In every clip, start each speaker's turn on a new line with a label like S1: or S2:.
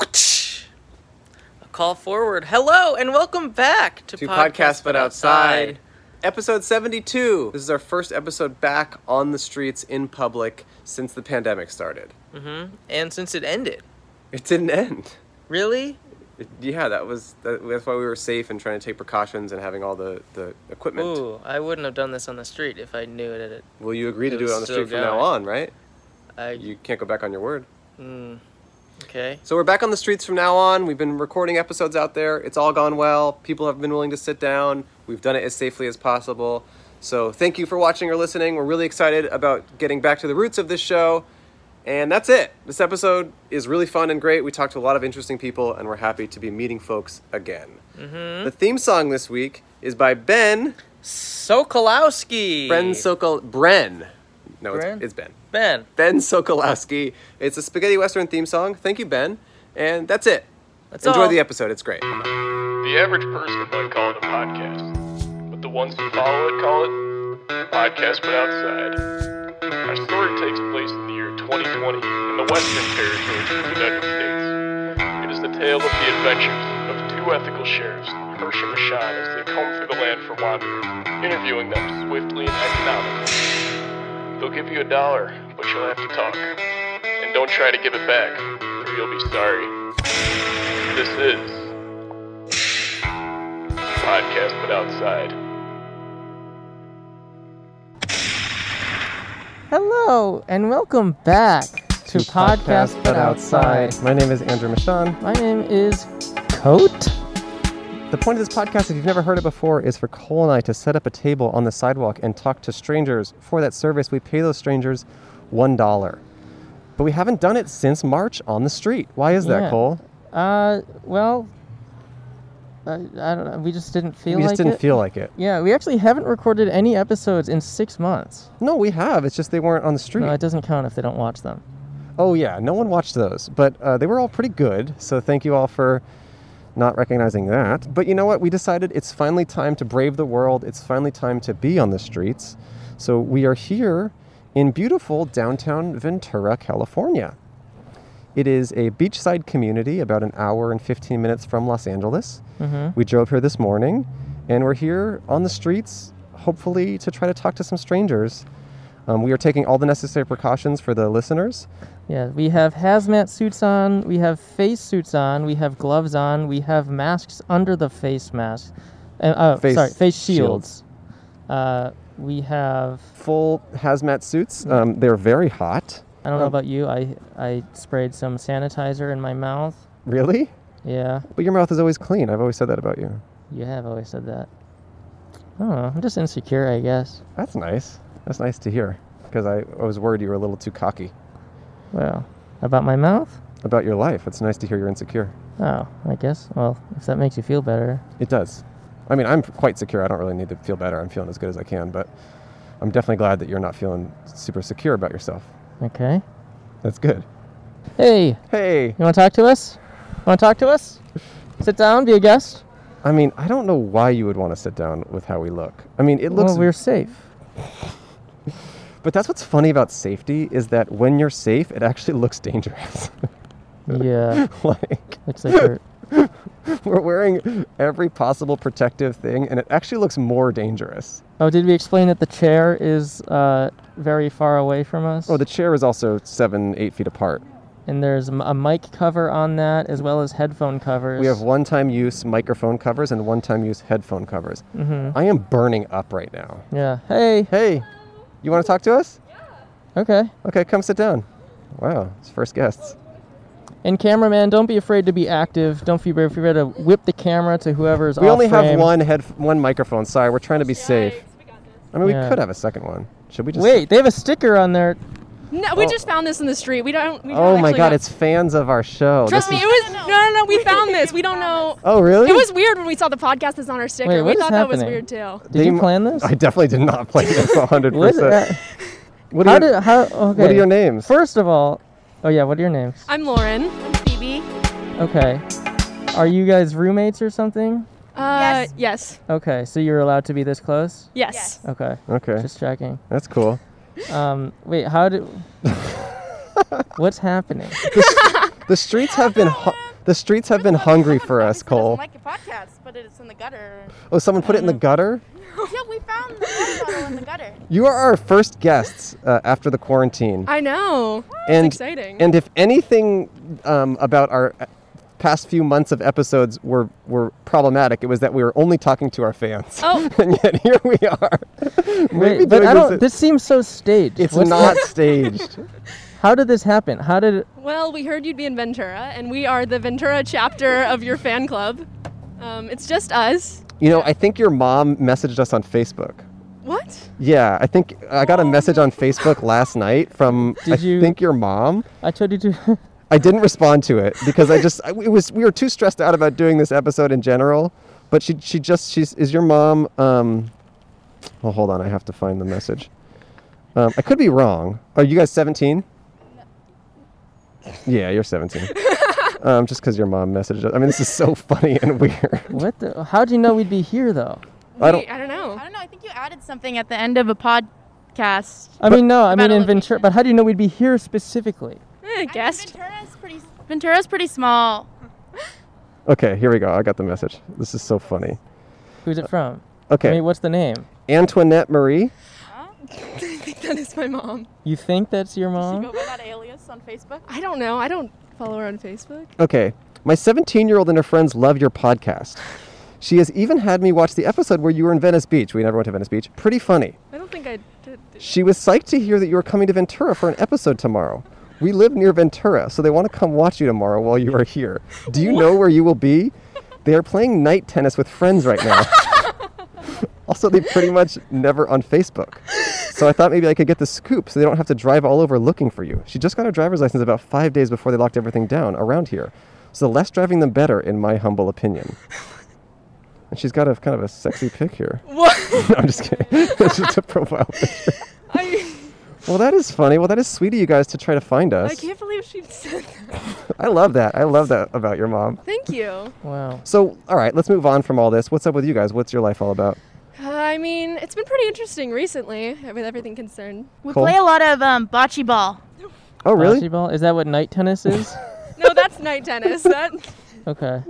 S1: Ouch! A call forward. Hello and welcome back to
S2: to podcast but outside episode 72 this is our first episode back on the streets in public since the pandemic started
S1: Mm-hmm. And since it ended,
S2: it didn't end
S1: really?
S2: It- yeah that was that, that's why we were safe and trying to take precautions and having all the the equipment
S1: Ooh, I wouldn't have done this on the street if I knew it. Had,
S2: will you agree to
S1: It
S2: do it
S1: was
S2: on the
S1: still
S2: street from now
S1: going.
S2: on right
S1: I
S2: you can't go back on your word
S1: Mm. okay.
S2: so we're back on the streets from now on we've been recording episodes out there it's all gone well people have been willing to sit down we've done it as safely as possible so thank you for watching or listening we're really excited about getting back to the roots of this show And that's it. This episode is really fun and great. We talked to a lot of interesting people, and we're happy to be meeting folks again.
S1: Mm-hmm. Hmm?
S2: The theme song this week is by Ben
S1: Sokolowski.
S2: Ben Sokol Bren. No,
S1: Bren?
S2: it's, it's Ben.
S1: Ben.
S2: Ben Sokolowski. It's a spaghetti western theme song. Thank you, Ben. And that's it.
S1: That's
S2: Enjoy
S1: all.
S2: the episode. It's great.
S3: The average person might call it a podcast, but the ones who follow it call it Podcast But Outside. Our story takes place in the year 2020 in the Western Territories of the United States. It is the tale of the adventures of two ethical sheriffs, Hirsch and Rashad, as they comb through the land for wanderers, interviewing them swiftly and economically. They'll give you a dollar, but you'll have to talk. And don't try to give it back, or you'll be sorry. This is podcast but outside.
S1: Hello and welcome back to podcast but outside.
S2: My name is Andrew Michon.
S1: My name is Coat.
S2: The point of this podcast, if you've never heard it before, is for Cole and I to set up a table on the sidewalk and talk to strangers. For that service, we pay those strangers $1. But we haven't done it since March on the street. Why is that,
S1: Yeah.
S2: Cole?
S1: Uh, well, I, I don't know. We just didn't feel
S2: We just
S1: like
S2: didn't
S1: it.
S2: feel like it.
S1: Yeah, we actually haven't recorded any episodes in six months.
S2: No, we have. It's just they weren't on the street.
S1: No, it doesn't count if they don't watch them.
S2: oh, yeah. No one watched those. But uh, they were all pretty good. So thank you all for not recognizing that. But you know what? We decided it's finally time to brave the world. It's finally time to be on the streets. So we are here in beautiful downtown Ventura, California. It is a beachside community about an hour and 15 minutes from Los Angeles. We drove here this morning and we're here on the streets, hopefully, to try to talk to some strangers. Um, we are taking all the necessary precautions for the listeners.
S1: Yeah, we have hazmat suits on, we have face suits on, we have gloves on, we have masks under the face mask. Uh, oh,
S2: Face
S1: sorry, face
S2: shields.
S1: shields. Uh, we have.
S2: Full hazmat suits. Um, they're very hot. Um,
S1: I don't know about you. I I sprayed some sanitizer in my mouth.
S2: Really?
S1: Yeah,
S2: But your mouth is always clean. I've always said that about you.
S1: you have always said that. I don't know. I'm just insecure, I guess.
S2: That's nice. That's nice to hear because I, I was worried you were a little too cocky
S1: Well, about my mouth.
S2: about your life. It's nice to hear you're insecure.
S1: Oh, I guess. Well, if that makes you feel better.
S2: It does. I mean, I'm quite secure. I don't really need to feel better. I'm feeling as good as I can, but I'm definitely glad that you're not feeling super secure about yourself.
S1: Okay.
S2: That's good.
S1: Hey, you
S2: Hey,
S1: want to talk to us? Want to talk to us? Sit down, be a guest.
S2: I mean, I don't know why you would want to sit down with how we look. I mean, it looks
S1: well, we're safe.
S2: But that's what's funny about safety is that when you're safe, it actually looks dangerous.
S1: Yeah,
S2: Uh, like
S1: looks like we're.
S2: we're wearing every possible protective thing and it actually looks more dangerous.
S1: Oh, did we explain that the chair is uh, very far away from us?
S2: Oh, the chair is also seven, eight feet apart.
S1: and there's m- a mic cover on that, as well as headphone covers.
S2: We have one time use microphone covers and one time use headphone covers.
S1: Mm-hmm.
S2: I am burning up right now.
S1: Yeah. Hey.
S2: Hey, you want to talk to us?
S1: Okay.
S2: Okay, come sit down. Wow, it's first guests.
S1: And cameraman, don't be afraid to be active. Don't be afraid to whip the camera to whoever's
S2: We
S1: off
S2: only have
S1: frame.
S2: one head, one microphone. Sorry, we're trying to be safe. I mean, we
S1: Yeah.
S2: could have a second one. Should we just?
S1: Wait, they have a sticker on there.
S4: No, we just found this in the street. We don't. We don't
S2: Oh my
S4: actually
S2: God,
S4: know.
S2: it's fans of our show.
S4: Trust me,
S2: This
S4: it
S2: is-
S4: was. No, no, no. We found this. We don't know.
S2: Oh really?
S4: It was weird when we saw the podcast that's on our sticker.
S1: Wait, what
S4: we
S1: is
S4: thought that was
S1: happening?
S4: weird too.
S1: Did
S2: They
S1: you
S2: mu-
S1: plan this?
S2: I definitely did not play this 100.
S1: What is
S2: percent
S1: that? How did how? Okay.
S2: What are your names?
S1: First of all, oh yeah, what are your names?
S4: I'm Lauren. I'm Phoebe.
S1: Okay. Are you guys roommates or something?
S4: Uh, yes. Yes.
S1: Okay, so you're allowed to be this close?
S4: Yes.
S1: Okay.
S2: Okay,
S1: Just checking.
S2: that's cool.
S1: Um, wait, how do? What's happening?
S2: The streets have been ho- the The streets have been hungry for us, Cole.
S5: Like your podcast, but it's in the gutter. Mm.
S2: Oh, someone put it in the gutter?
S5: yeah, we found the water bottle in the gutter.
S2: You are our first guests uh, after the quarantine.
S4: I know.
S2: and
S4: It's exciting.
S2: and if anything um, about our uh, past few months of episodes were were problematic, it was that we were only talking to our fans.
S4: Oh.
S2: and yet here we are. Maybe
S1: Wait, but
S2: doing
S1: I don't.
S2: This,
S1: This seems so staged.
S2: it's
S1: What's-
S2: not staged.
S1: How did this happen? How did?
S4: well, we heard you'd be in Ventura, and we are the Ventura chapter of your fan club. Um, it's just us.
S2: You know, I think your mom messaged us on Facebook.
S4: What?
S2: Yeah, I think I got a message on Facebook last night from I
S1: Oh, Did you-
S2: think your mom.
S1: I told you to.
S2: I didn't respond to it because I just I, it was we were too stressed out about doing this episode in general. But she she just she's is your mom. Um, well, hold on, I have to find the message. Um, I could be wrong. Are you guys seventeen? Yeah, you're seventeen. um, just because your mom messaged. us. I mean, this is so funny and weird.
S1: what the? How'd you know we'd be here though?
S2: I don't.
S4: I don't know.
S5: I don't know. I think you added something at the end of a podcast.
S1: I mean, no. I
S5: About
S1: mean,
S5: a
S1: in Ventura.
S5: location.
S1: But how do you know we'd be here specifically?
S4: Eh, guest.
S5: Ventura's pretty. Ventura's pretty small.
S2: Okay, here we go. I got the message. This is so funny.
S1: Who's
S2: Uh,
S1: it from? I
S2: Okay,
S1: mean, what's the name?
S2: Antoinette Marie.
S4: I think that is my mom.
S1: You think that's your
S5: You
S1: mom?
S5: go by that alias on Facebook.
S4: I don't know. I don't follow her on Facebook.
S2: Okay. My 17 year old and her friends love your podcast. She has even had me watch the episode where you were in Venice Beach. We never went to Venice Beach. Pretty funny.
S4: I don't think I did. did-
S2: She was psyched to hear that you were coming to Ventura for an episode tomorrow. We live near Ventura, so they want to come watch you tomorrow while you are here. Do you know where you will be? They are playing night tennis with friends right now. also, they pretty much never on Facebook. So I thought maybe I could get the scoop so they don't have to drive all over looking for you. She just got her driver's license about five days before they locked everything down around here. So the less driving, the better, in my humble opinion. And she's got a kind of a sexy pic here.
S4: What?
S2: No, I'm just kidding. It's just a profile picture.
S4: I,
S2: Well, that is funny. Well, that is sweet of you guys to try to find us.
S4: I can't believe she said that.
S2: I love that. I love that about your mom.
S4: Thank you.
S1: Wow.
S2: So, all right, let's move on from all this. What's up with you guys? What's your life all about?
S4: Uh, I mean, it's been pretty interesting recently with everything concerned.
S5: We
S2: Cool.
S5: play a lot of um, bocce ball.
S2: Oh, really?
S1: Bocce ball? Is that what night tennis is?
S4: No, that's night tennis. That
S1: okay.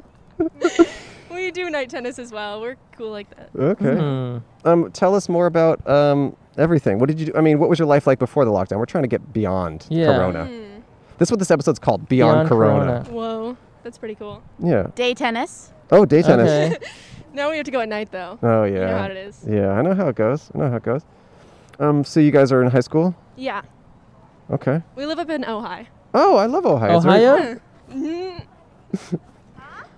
S4: we do night tennis as well. We're cool like that.
S2: Okay.
S1: Hmm.
S2: Um, tell us more about um, everything. What did you do? I mean, what was your life like before the lockdown? We're trying to get beyond
S1: Yeah.
S2: Corona.
S4: Hmm.
S2: This is what this episode's called Beyond,
S1: Beyond
S2: corona.
S4: Whoa, that's pretty cool.
S5: Day tennis.
S2: Yeah. Oh, day tennis.
S1: Okay.
S4: Now we have to go at night though.
S2: Oh, yeah.
S4: how it is.
S2: Yeah, I know how it goes. I know how it goes. Um, so, you guys are in high school?
S4: Yeah,
S2: Okay.
S4: we live up in Ojai.
S2: Oh, I love Ohio. It's very-
S1: Ohio?
S4: Mm.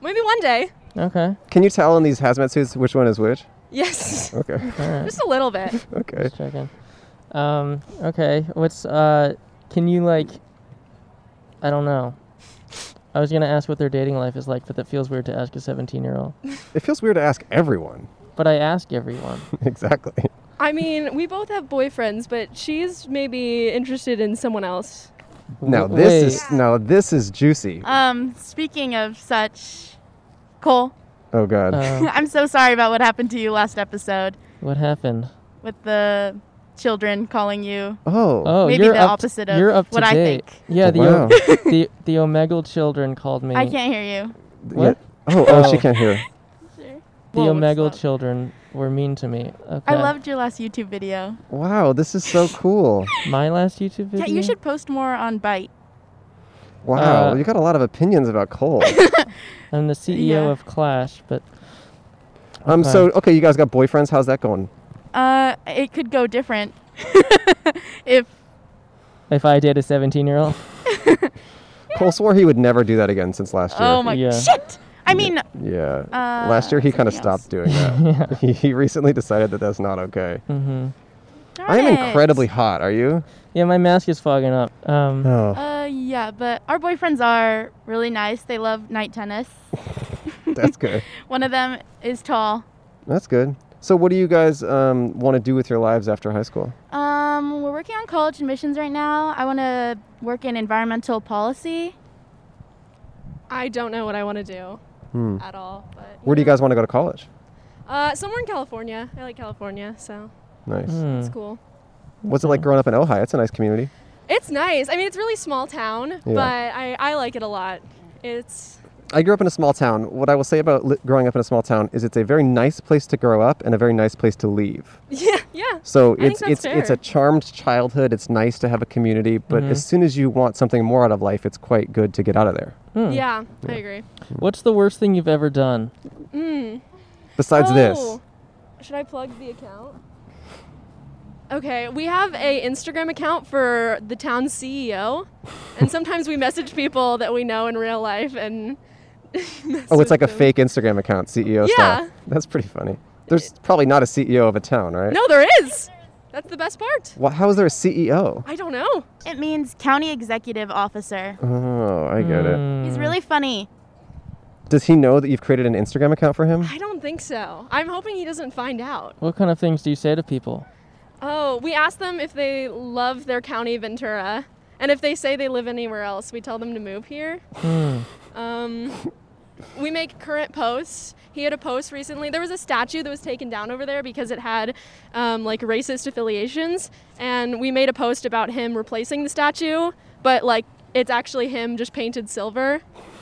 S4: Maybe one day.
S1: Okay.
S2: Can you tell in these hazmat suits which one is which?
S4: Yes,
S2: Okay.
S1: All right.
S4: just a little bit.
S2: Okay.
S1: Just checking. Um, okay. What's uh can you like I don't know. I was gonna ask what their dating life is like, but that feels weird to ask a seventeen year old.
S2: It feels weird to ask everyone.
S1: But I ask everyone.
S2: exactly.
S4: I mean, we both have boyfriends, but she's maybe interested in someone else.
S2: Now
S1: W-
S2: this
S1: wait,
S2: is now this is juicy.
S5: Um, speaking of such, Cole,
S2: oh god.
S1: uh,
S5: I'm so sorry about what happened to you last episode
S1: what happened?
S5: with the children calling you.
S2: oh.
S1: Oh,
S5: Maybe
S1: you're
S5: the
S1: up
S5: opposite of
S1: you're up to
S5: what I
S1: date.
S5: think.
S1: Yeah, the
S2: Wow.
S1: o- the the Omegle children called me.
S5: I can't hear you.
S2: Th-
S1: what?
S2: yeah. Oh, oh,
S1: Oh.
S2: she can't hear.
S1: The
S5: Whoa, what's
S1: Omegle
S5: that?
S1: children were mean to me. Okay.
S5: I loved your last YouTube video.
S2: Wow, this is so cool.
S1: my last YouTube video.
S5: Yeah, you should post more on Bite.
S2: Wow,
S1: Uh,
S2: you got a lot of opinions about Cole.
S1: I'm the CEO
S5: Uh, Yeah.
S1: of Clash, but
S2: um, so okay, you guys got boyfriends. How's that going?
S5: Uh, it could go different if
S1: if I date a 17 year old,
S2: Cole swore he would never do that again since last year.
S5: Oh my
S1: Yeah.
S5: shit! I mean,
S2: yeah. last year he kind of
S5: something
S2: stopped
S5: else.
S2: doing that. he, he recently decided that that's not okay.
S1: hmm
S5: darn
S2: I am
S5: it.
S2: incredibly hot. Are you?
S1: yeah, my mask is fogging up. Um,
S2: Oh,
S5: Uh, yeah, but our boyfriends are really nice. They love night tennis.
S2: that's good.
S5: One of them is tall.
S2: That's good. So what do you guys um, want to do with your lives after high school?
S5: Um, we're working on college admissions right now. I want to work in environmental policy.
S4: I don't know what I want to do
S2: Hmm.
S4: at all. But
S2: Where do you guys want to go to college?
S4: Uh, somewhere in California. I like California, so
S2: Nice.
S1: hmm.
S4: it's cool.
S2: What's it like growing up in Ojai? It's a nice community.
S4: It's nice. I mean, it's really small town,
S2: Yeah.
S4: but I, I like it a lot. It's
S2: I grew up in a small town. What I will say about li- growing up in a small town is it's a very nice place to grow up and a very nice place to leave.
S4: Yeah, yeah.
S2: So
S4: think
S2: it's
S4: that's
S2: it's it's
S4: fair.
S2: a charmed childhood. It's nice to have a community, but
S1: Mhm.
S2: as soon as you want something more out of life, it's quite good to get out of there.
S1: Hmm.
S4: Yeah, I agree.
S1: What's the worst thing you've ever done?
S4: Mm.
S2: Besides this,
S4: Oh. Should I plug the account? Okay, we have a Instagram account for the town CEO, and sometimes we message people that we know in real life and.
S2: oh, it's like a
S4: message them.
S2: fake Instagram account, CEO style.
S4: Yeah.
S2: That's pretty funny. There's probably not a CEO of a town, right?
S4: No, there is. That's the best part.
S2: Wha- how is there a E CEO?
S4: I don't know.
S5: It means county executive officer.
S2: Oh, I get it.
S1: Hmm. Mm.
S5: He's really funny.
S2: Does he know that you've created an Instagram account for him?
S4: I don't think so. I'm hoping he doesn't find out.
S1: What kind of things do you say to people?
S4: Oh, we asked them if they love their county, Ventura, and if they say they live anywhere else, we tell them to move here. Um, we make current posts. He had a post recently. There was a statue that was taken down over there because it had um, like racist affiliations, and we made a post about him replacing the statue, but like it's actually him just painted silver,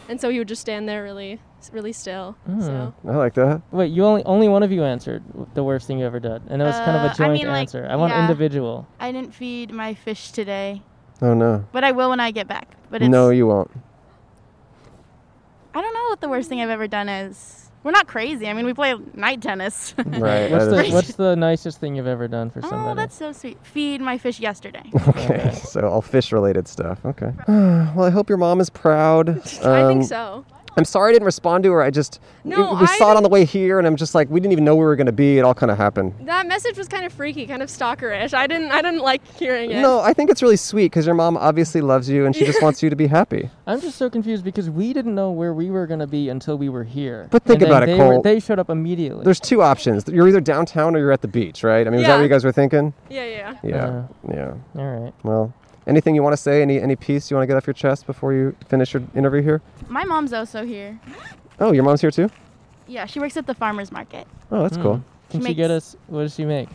S4: and so he would just stand there really, really still. So.
S2: I like that.
S1: Hmm. Wait, you only only one of you answered w- the worst thing you ever did, and that was kind of
S5: Uh,
S1: a
S5: I
S1: joint
S5: mean, like,
S1: answer. I want
S5: yeah.
S1: individual.
S5: I didn't feed my fish today,
S2: Oh no.
S5: but I will when I get back. But it's,
S2: No, you won't.
S5: I don't know what the worst thing I've ever done is. We're not crazy. I mean, we play night tennis.
S2: Right.
S1: What's
S2: that
S1: the
S2: is-
S1: What's the nicest thing you've ever done for somebody?
S5: oh, that's so sweet. Feed my fish yesterday.
S2: Okay, so all fish related stuff. Okay. well, I hope your mom is proud.
S4: I
S2: Um,
S4: think so.
S2: I'm sorry I didn't respond to her. I just, we-
S4: No,
S2: we
S4: I
S2: saw it on the way here, and I'm just like, we didn't even know where we were going to be. It all kind of happened.
S4: That message was kind of freaky, kind of stalkerish. I didn't, I didn't like hearing it.
S2: No, I think it's really sweet because your mom obviously loves you and she just wants you to be happy.
S1: I'm just so confused because we didn't know where we were gonna be until we were here.
S2: But think
S1: And then
S2: about it,
S1: they were-
S2: Cole.
S1: they showed up immediately.
S2: There's two options. You're either downtown or you're at the beach, right? I mean, is that
S4: Yeah.
S2: what you guys were thinking?
S4: Yeah, yeah. yeah.
S2: Yeah.
S1: Uh.
S2: yeah.
S1: All right.
S2: Well, anything you want to say? Any any piece you want to get off your chest before you finish your interview here?
S5: My mom's also here.
S2: Oh, your mom's here too?
S5: Yeah, she works at the farmer's market.
S2: Oh, that's cool.
S1: Hmm. Can
S5: She
S1: she get
S5: makes-
S1: us? What does she make?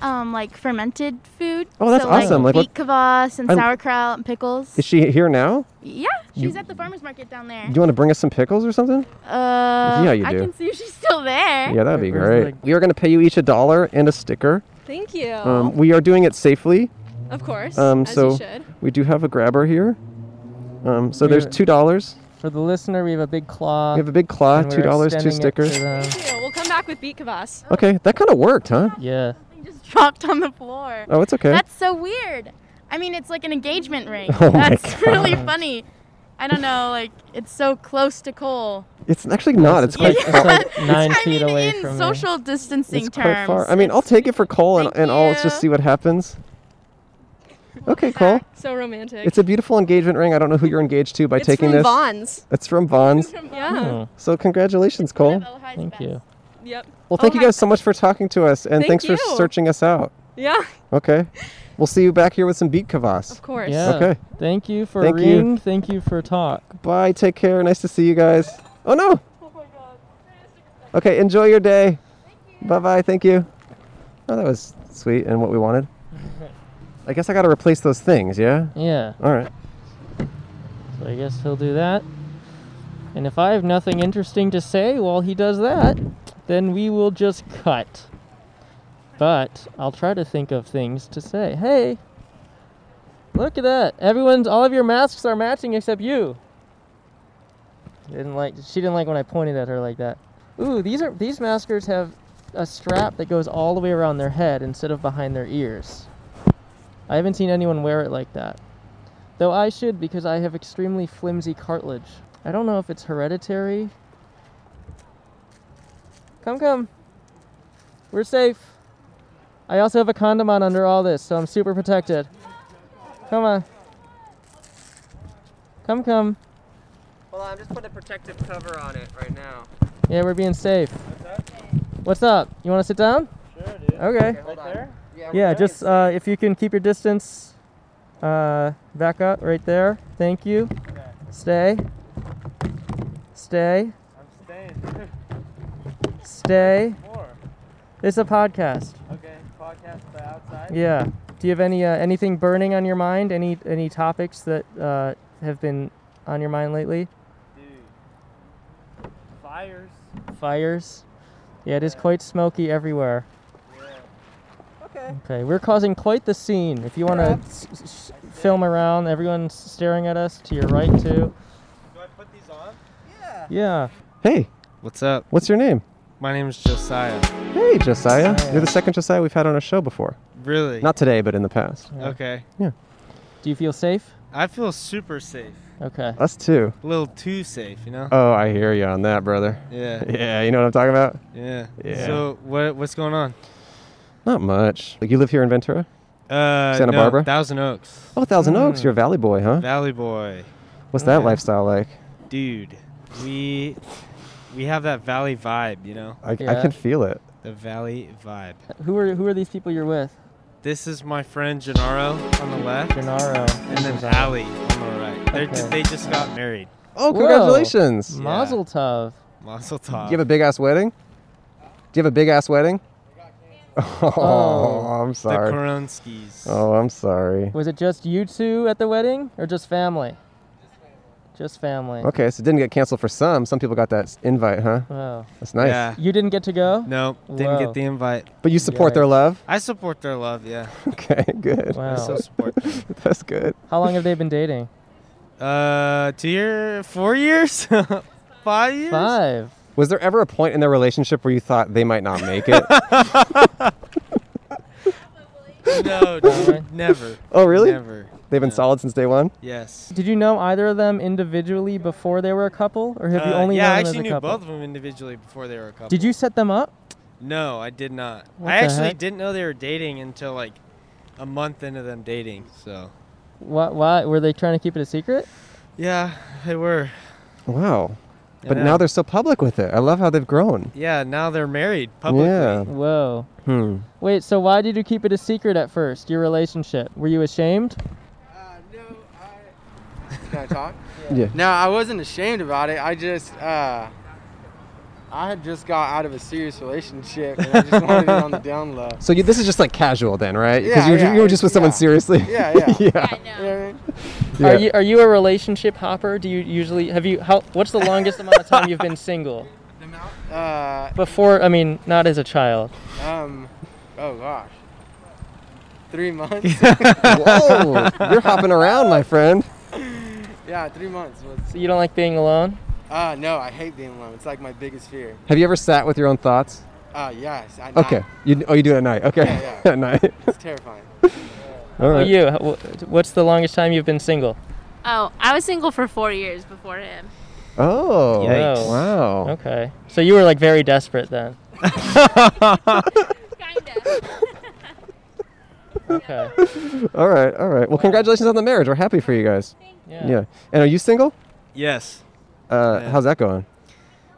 S5: Um, like fermented food.
S2: Oh, that's
S5: so,
S2: awesome. Like
S5: Like,
S2: what-
S5: beet kvass and
S2: I'm-
S5: sauerkraut and pickles.
S2: Is she here now?
S5: yeah,
S2: You-
S5: she's at the farmer's market down there.
S2: Do you want to bring us some pickles or something?
S5: Uh,
S2: Yeah, you
S5: I
S2: do.
S5: can see if she's still there.
S2: Yeah, that'd
S1: Where-
S2: be
S1: where's
S2: great.
S1: the, like-
S2: we are going to pay you each a dollar and a sticker.
S4: Thank you.
S2: Um, we are doing it safely.
S4: of course.
S2: Um,
S4: as
S2: so
S4: you should.
S2: we do have a grabber here. Um, so
S1: We
S2: there's
S1: have-
S2: two dollars.
S1: For the listener, we have a big claw.
S2: We have a big claw,
S1: and we're
S2: two dollars, two
S1: extending it to
S2: stickers.
S1: them.
S4: Thank you. We'll come back with beet kvass.
S2: Okay, that kind of worked, huh?
S1: Yeah.
S5: Something just dropped on the floor.
S2: Oh, it's okay.
S5: That's so weird. I mean, it's like an engagement ring.
S2: Oh my
S5: That's really funny. I don't know, like it's so close to Cole.
S2: it's actually not. It's quite
S1: it's
S2: far.
S1: like nine
S5: I
S1: feet
S5: mean,
S1: away
S5: in
S1: from me.
S5: social distancing
S2: It's quite
S5: terms.
S2: far. I mean, I'll
S5: it's-
S2: take it for Cole and,
S5: Thank
S2: and I'll just
S5: you.
S2: see what happens. Okay, Cole.
S4: So romantic.
S2: It's a beautiful engagement ring. I don't know who you're engaged to by
S4: It's
S2: taking
S4: from
S2: this.
S4: Vaughn's.
S2: It's from Bonds.
S4: Yeah.
S1: Oh,
S2: So congratulations, Cole.
S5: Elijah's
S1: thank
S5: best.
S1: you.
S4: Yep.
S2: Well, thank you
S4: Ojai-
S2: guys so much for talking to us and
S4: Thank
S2: thanks for
S4: you.
S2: searching us out.
S4: Yeah.
S2: Okay. We'll see you back here with some beat kvass.
S4: Of course.
S1: Yeah.
S2: Okay.
S1: Thank you for
S2: Thank you.
S1: ring. Thank you for talk.
S2: Bye. Take care. Nice to see you guys. Oh no. Okay. Enjoy your day. Bye bye. Thank you. Oh, that was sweet and what we wanted. I guess I got to replace those things. Yeah.
S1: Yeah.
S2: All right.
S1: So I guess he'll do that. And if I have nothing interesting to say while he does that, then we will just cut. But I'll try to think of things to say. Hey, look at that! Everyone's all of your masks are matching except you. Didn't like she didn't like when I pointed at her like that. Ooh, these are these maskers have a strap that goes all the way around their head instead of behind their ears. I haven't seen anyone wear it like that. Though I should because I have extremely flimsy cartilage. I don't know if it's hereditary. Come, come. We're safe. I also have a condom on under all this, so I'm super protected. Come on. Come, come.
S6: Hold on, I'm just putting a protective cover on it right now.
S1: Yeah, we're being safe. What's up? You want to sit down? Sure, dude. Okay.
S6: Hold on. Yeah, we're
S1: Yeah,
S6: doing
S1: just uh, if you can keep your distance uh, back up right there. Thank you. Stay. Stay.
S7: I'm staying.
S1: Stay.
S7: More.
S1: It's a podcast.
S7: Okay, podcast but outside.
S1: Yeah. Do you have any uh, anything burning on your mind? Any any topics that uh, have been on your mind lately?
S7: Dude, Fires.
S1: fires. Yeah, it is quite smoky everywhere.
S7: Yeah.
S6: Okay.
S1: Okay, we're causing quite the scene. If you want to
S6: Yeah.
S1: s- s- s- film around, everyone's staring at us to your right too.
S7: Do I put these on?
S6: Yeah.
S1: Yeah.
S2: Hey,
S8: What's up?
S2: what's your name?
S8: My name is Josiah.
S2: Hey, Josiah.
S1: Josiah.
S2: You're the second Josiah we've had on our show before.
S8: Really?
S2: Not today, but in the past.
S8: okay.
S1: Do you feel safe?
S8: I feel super safe.
S1: Okay.
S2: Us too.
S8: A little too safe, you know?
S2: Oh, I hear you on that, brother.
S8: yeah.
S2: Yeah, you know what I'm talking about?
S8: Yeah.
S2: Yeah.
S8: So what what's going on?
S2: Not much. Like you live here in Ventura?
S8: Uh,
S2: Santa
S8: no,
S2: Barbara?
S8: Thousand Oaks.
S2: Oh, Thousand Oaks. You're a Valley boy, huh?
S8: Valley Boy.
S2: What's that
S8: yeah.
S2: lifestyle like?
S8: Dude, we we have that valley vibe, you know?
S2: I, I
S1: Yeah.
S2: can feel it.
S8: The valley vibe.
S1: Who are who are these people you're with?
S8: This is my friend Gennaro on the left
S1: Gennaro.
S8: and then Allie on the right. They're ju-
S1: Okay.
S8: they just got married.
S2: Oh,
S1: Whoa.
S2: congratulations.
S8: Yeah.
S1: Mazel tov.
S8: Mazel tov.
S2: Do you have a big ass wedding? Do you have a big ass wedding? Oh,
S1: Oh.
S2: I'm
S8: the
S2: sorry.
S8: Koronskis.
S2: Oh, I'm sorry.
S1: Was it just you two at the wedding, or just family? Just family.
S2: Okay, so it didn't get canceled for some. Some people got that s- invite, huh?
S1: Wow.
S2: That's nice.
S8: Yeah.
S1: You didn't get to go.
S8: No, didn't
S1: Whoa.
S8: get the invite.
S2: But you support their
S1: Yikes.
S2: love?
S8: I support their love, yeah.
S2: Okay, good.
S1: Wow.
S8: I still support them.
S2: That's good.
S1: How long have they been dating?
S8: Uh, two year, four years, five years.
S1: Five.
S2: Was there ever a point in their relationship where you thought they might not make it?
S8: No, dude, never.
S2: oh, really?
S8: Never.
S2: They've been
S8: No.
S2: solid since day one?
S8: Yes.
S1: Did you know either of them individually before they were a couple, or have you
S8: Uh,
S1: only
S8: yeah,
S1: known
S8: I
S1: them
S8: actually
S1: as a
S8: knew
S1: couple?
S8: both of them individually before they were a couple.
S1: Did you set them up?
S8: No, I did not.
S1: What
S8: I
S1: the
S8: actually
S1: heck?
S8: didn't know they were dating until like a month into them dating. So.
S1: Why? Why were they trying to keep it a secret?
S8: Yeah, they were.
S2: Wow.
S8: I
S2: But
S8: know.
S2: now they're so public with it. I love how they've grown.
S8: Yeah, now they're married publicly.
S2: Yeah.
S1: Whoa.
S2: Hmm.
S1: Wait. So why did you keep it a secret at first? Your relationship? Were you ashamed?
S7: Uh, no, I. Can I talk?
S2: Yeah.
S7: No, I wasn't ashamed about it. I just, uh, I had just got out of a serious relationship and I just wanted it on the down low.
S2: So you, this is just like casual then, right? Because
S7: Yeah,
S2: you, were-
S7: yeah,
S2: you were just with someone
S7: yeah.
S2: seriously.
S7: Yeah, yeah.
S2: yeah.
S7: You know what I mean?
S2: yeah.
S1: Are you are you a relationship hopper? Do you usually have you how what's the longest amount of time you've been single?
S7: Uh,
S1: Before I mean not as a child.
S7: um, oh gosh. Three months?
S2: Whoa, you're hopping around, my friend.
S7: yeah, three months was.
S1: So you don't like being alone?
S7: Uh, no, I hate being alone. It's like my biggest fear.
S2: Have you ever sat with your own thoughts?
S7: Uh, yes. I,
S2: Okay. You, oh, you do it at night. Okay.
S7: Yeah, yeah.
S2: at night.
S7: It's terrifying.
S2: All
S1: How about
S2: right.
S1: You Wh- what's the longest time you've been single?
S5: Oh, I was single for four years before him.
S2: Oh.
S1: Yikes.
S2: Wow.
S1: Okay. So you were like very desperate then.
S5: Kinda.
S1: Okay.
S2: All right. All right. Well, congratulations on the marriage. We're happy for you guys.
S1: Yeah.
S2: Yeah. And are you single?
S8: Yes.
S2: Uh,
S8: Yeah.
S2: How's that going?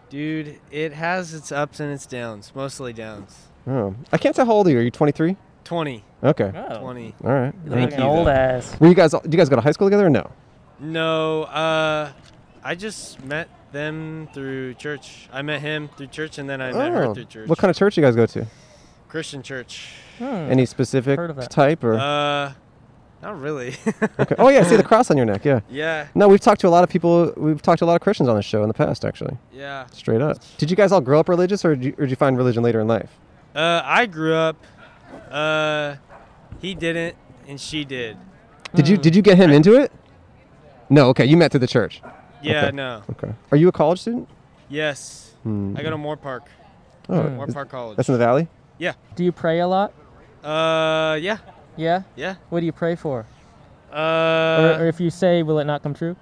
S8: Dude, it has its ups and its downs, mostly downs.
S2: Oh. I can't tell how old are you. Are you 23?
S8: 20.
S2: Okay.
S1: Oh.
S8: 20.
S2: All right.
S1: You
S8: Thank
S1: look an
S8: you,
S1: old
S8: though.
S1: ass.
S2: Were you guys? all- Do you guys go to high school together or no?
S8: No, uh, I just met them through church. I met him through church, and then I met
S1: Oh.
S8: her through church.
S2: Oh. What kind of church you guys go to?
S8: of Christian church?
S1: Hmm.
S2: Any specific
S1: Heard of that.
S2: type or?
S8: Uh, not really.
S2: okay. Oh yeah. I See the cross on your neck. Yeah.
S8: yeah,
S2: No, we've talked to a lot of people. We've talked to a lot of Christians on the show in the past, actually.
S8: yeah.
S2: Straight up. Did you guys all grow up religious, or did you, or did you find religion later in life?
S8: Uh, I grew up. Uh, he didn't, and she did.
S2: Did you Did you get him
S8: Hmm.
S2: into it? No. Okay. You met through the church.
S8: Yeah,
S2: Okay.
S8: no.
S2: Okay. Are you a college student?
S8: Yes,
S2: Hmm.
S8: I go to Moore Park.
S2: Oh,
S1: Hmm.
S8: Moore
S2: is-
S8: Park College.
S2: that's in the valley.
S1: Do you pray a lot?
S8: uh, yeah,
S1: Yeah.
S8: yeah.
S1: What do you pray for? or, or
S8: Uh,
S1: if you say, will it not come true?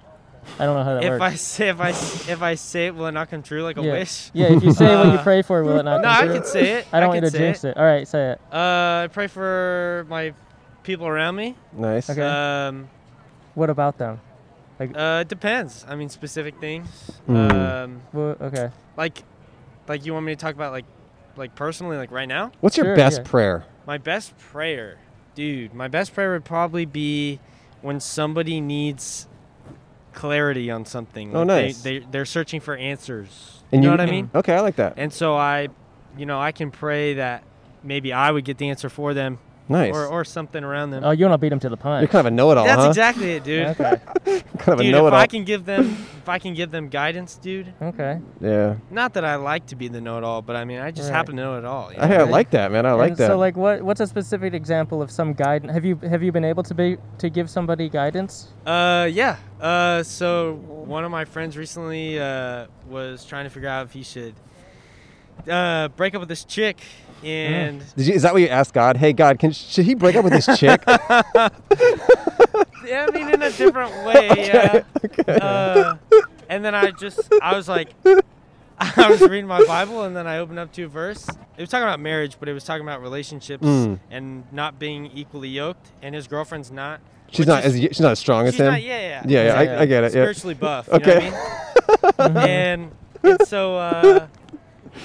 S1: I don't know how that
S8: if
S1: works.
S8: I say if I s- if I say it, will it not come true like a
S1: yeah.
S8: wish?
S1: Yeah. If you say what you
S8: Uh,
S1: pray for, will it not
S8: No,
S1: come
S8: I
S1: true?
S8: could say it.
S1: I don't
S8: I
S1: want you
S8: could
S1: to
S8: say
S1: jinx
S8: it.
S1: it. All right, say it.
S8: Uh, I pray for my people around me.
S2: Nice.
S1: Okay.
S8: Um,
S1: What about them?
S8: uh, it depends. I mean, specific things.
S2: Mm.
S8: Um,
S1: Well, okay.
S8: like, like you want me to talk about like, like personally, like right now.
S2: What's your
S1: Sure,
S2: best
S1: yeah.
S2: prayer?
S8: My best prayer, dude. My best prayer would probably be when somebody needs clarity on something.
S2: Oh,
S8: Like, they-
S2: nice.
S8: They, they're searching for answers. You know what I mean?
S2: Okay, I like that.
S8: And so I, you know, I can pray that maybe I would get the answer for them
S2: Nice.
S8: or, or something around them.
S1: Oh, you want to beat him to the punch.
S2: You're kind of a know-it-all,
S8: That's
S2: huh?
S8: exactly it, dude.
S1: Okay.
S2: kind of a
S8: Dude, if
S2: know-it-all.
S8: I can give them, if I can give them guidance, dude.
S1: Okay.
S2: yeah.
S8: Not that I like to be the know-it-all, but I mean, I just
S1: Right.
S8: happen to know it all. you
S2: I,
S8: know?
S2: I like that, man. I like
S1: And
S2: that.
S1: So, like, what what's a specific example of some guidance? Have you have you been able to be to give somebody guidance?
S8: Uh, yeah. Uh, so one of my friends recently uh, was trying to figure out if he should uh, break up with this chick,
S1: Mm.
S8: and
S2: Did you, is that what you asked God? Hey, God, can should he break up with this chick?
S8: yeah, I mean in a different way. yeah. Uh, and then I just I was like, I was reading my Bible, and then I opened up to a verse. It was talking about marriage, but it was talking about relationships
S2: Mm.
S8: and not being equally yoked. And his girlfriend's not.
S2: she's
S8: which
S2: not
S8: is-
S2: as she's not as strong as
S8: She's
S2: him.
S8: not- yeah, yeah,
S2: yeah, yeah,
S1: Yeah.
S2: I, I get it. Yeah.
S8: spiritually buff.
S2: Okay.
S8: You know what I mean? and, and so, uh,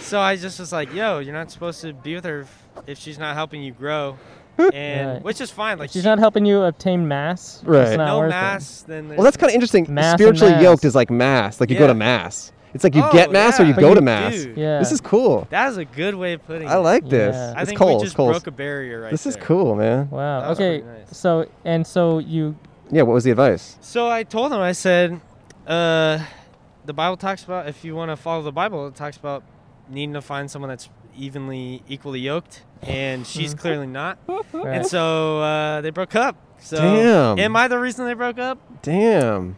S8: so I just was like, "Yo, you're not supposed to be with her if, if she's not helping you grow," and
S1: Right.
S8: which is fine. Like
S1: She's
S8: she-
S1: not helping you obtain mass.
S2: Right.
S1: It's not
S8: no
S1: worth
S8: mass. Then there's
S2: Well, that's kind of interesting.
S1: Mass and
S2: spiritually
S1: mass.
S2: yoked is like mass. Like you go
S8: Yeah.
S2: to mass. It's like you
S8: Oh,
S2: get mass or
S8: yeah.
S2: you
S8: But
S2: go
S8: you
S2: to mass.
S8: do.
S1: It. Yeah.
S2: This is cool.
S8: that is a good way of putting it.
S2: I like this.
S1: Yeah.
S8: I
S2: It's
S8: think
S2: Coles.
S8: we just
S2: Coles.
S8: broke a barrier right
S2: this is
S8: there.
S2: cool, man.
S1: Wow.
S8: That was
S1: okay.
S8: pretty nice.
S1: So and so you.
S2: Yeah. What was the advice?
S8: So I told him, I said, uh, the Bible talks about if you want to follow the Bible, it talks about needing to find someone that's evenly, equally yoked, and she's clearly not.
S1: Right.
S8: And so uh, they broke up. So
S2: Damn.
S8: am I the reason they broke up?
S2: Damn.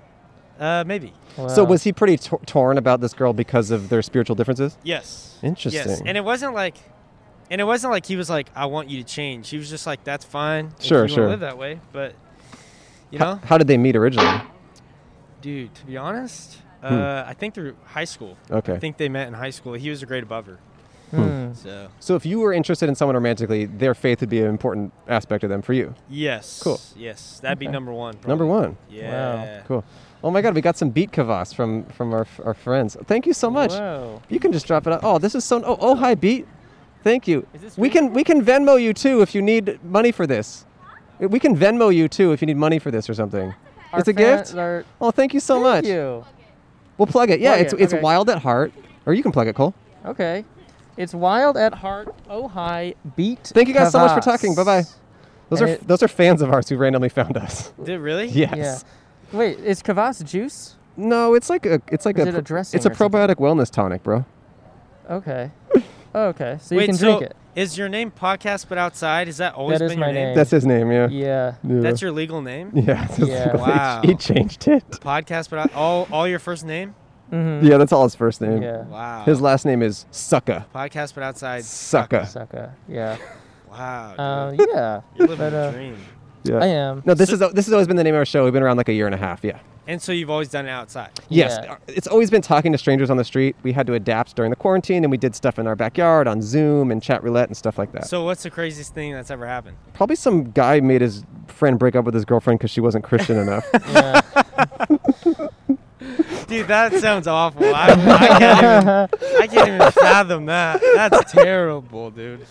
S8: Uh, maybe.
S2: So
S1: Wow.
S2: was he pretty tor- torn about this girl because of their spiritual differences?
S8: Yes. Yes.
S2: Interesting.
S8: And it wasn't like, and it wasn't like he was like, "I want you to change." He was just like, "That's fine. if
S2: Sure,
S8: you wanna
S2: sure.
S8: Live that way." But you
S2: How,
S8: know,
S2: how did they meet originally?
S8: dude, to be honest, uh, I think through high school.
S2: Hmm. Okay.
S8: I think they met in high school. He was a grade above her.
S1: Hmm.
S8: So
S2: So if you were interested in someone romantically, their faith would be an important aspect of them for you.
S8: yes.
S2: Cool.
S8: Yes, that'd be number one.
S2: Number
S8: probably.
S2: one.
S8: Yeah.
S2: Cool. Oh my God, we got some beat kvass from from our, our friends. Thank you so much.
S1: Whoa.
S2: You can just drop it. Out. Oh, this is so. Oh, oh, hi, beat. Thank you.
S1: Is this
S2: we
S1: free?
S2: can we can Venmo you too if you need money for this. We can Venmo you too if you need money for this or something.
S1: Our
S2: it's a
S1: fan-
S2: gift.
S1: our-
S2: Oh, thank you so much.
S1: Thank you.
S2: We'll plug it. Yeah,
S1: Plug
S2: it's
S1: it,
S2: it's
S1: okay.
S2: wild at heart, or you can plug it, Cole.
S1: Okay. It's wild at heart. Oh hi. Beat.
S2: Thank you guys so much for talking.
S1: Kvass.
S2: Bye-bye. Those
S1: And
S2: are
S1: it-
S2: those are fans of ours who randomly found us.
S8: Did really?
S2: yes.
S1: Yeah. Wait, is Kvass juice?
S2: No, it's like a it's like
S1: Is
S2: a,
S1: it a
S2: pro-
S1: dressing
S2: it's a
S1: or something?
S2: probiotic wellness tonic, bro.
S1: Okay. Oh, okay. So you
S8: Wait.
S1: can
S8: so
S1: drink it.
S8: is your name podcast but outside? Is that always
S1: That is
S8: been
S1: my
S8: your name?
S1: name.
S2: That's his name, yeah.
S1: Yeah.
S2: Yeah.
S8: That's your legal name.
S2: yeah. that's his
S1: Yeah.
S2: legal name.
S8: Wow.
S2: He changed it.
S8: Podcast, but I, all all your first name.
S1: Mm-hmm.
S2: Yeah, that's all his first name.
S1: Yeah.
S8: Wow.
S2: His last name is Sucka.
S8: podcast, but outside.
S2: Sucka.
S1: Sucker. Yeah.
S8: Wow.
S1: Uh,
S8: dude.
S1: yeah.
S8: You're living
S1: but,
S8: the
S1: uh,
S8: dream.
S2: Yeah.
S1: I am.
S2: No, this is this has always been the name of our show. We've been around like a year and a half. Yeah.
S8: And so you've always done it outside.
S2: Yes.
S1: Yeah.
S2: uh, It's always been talking to strangers on the street. We had to adapt during the quarantine, and we did stuff in our backyard on Zoom and chat roulette and stuff like that.
S8: So what's the craziest thing that's ever happened?
S2: Probably some guy made his friend break up with his girlfriend because she wasn't Christian enough.
S1: Yeah.
S8: Dude, that sounds awful. I, I, can't even, I can't even fathom that. That's terrible, dude.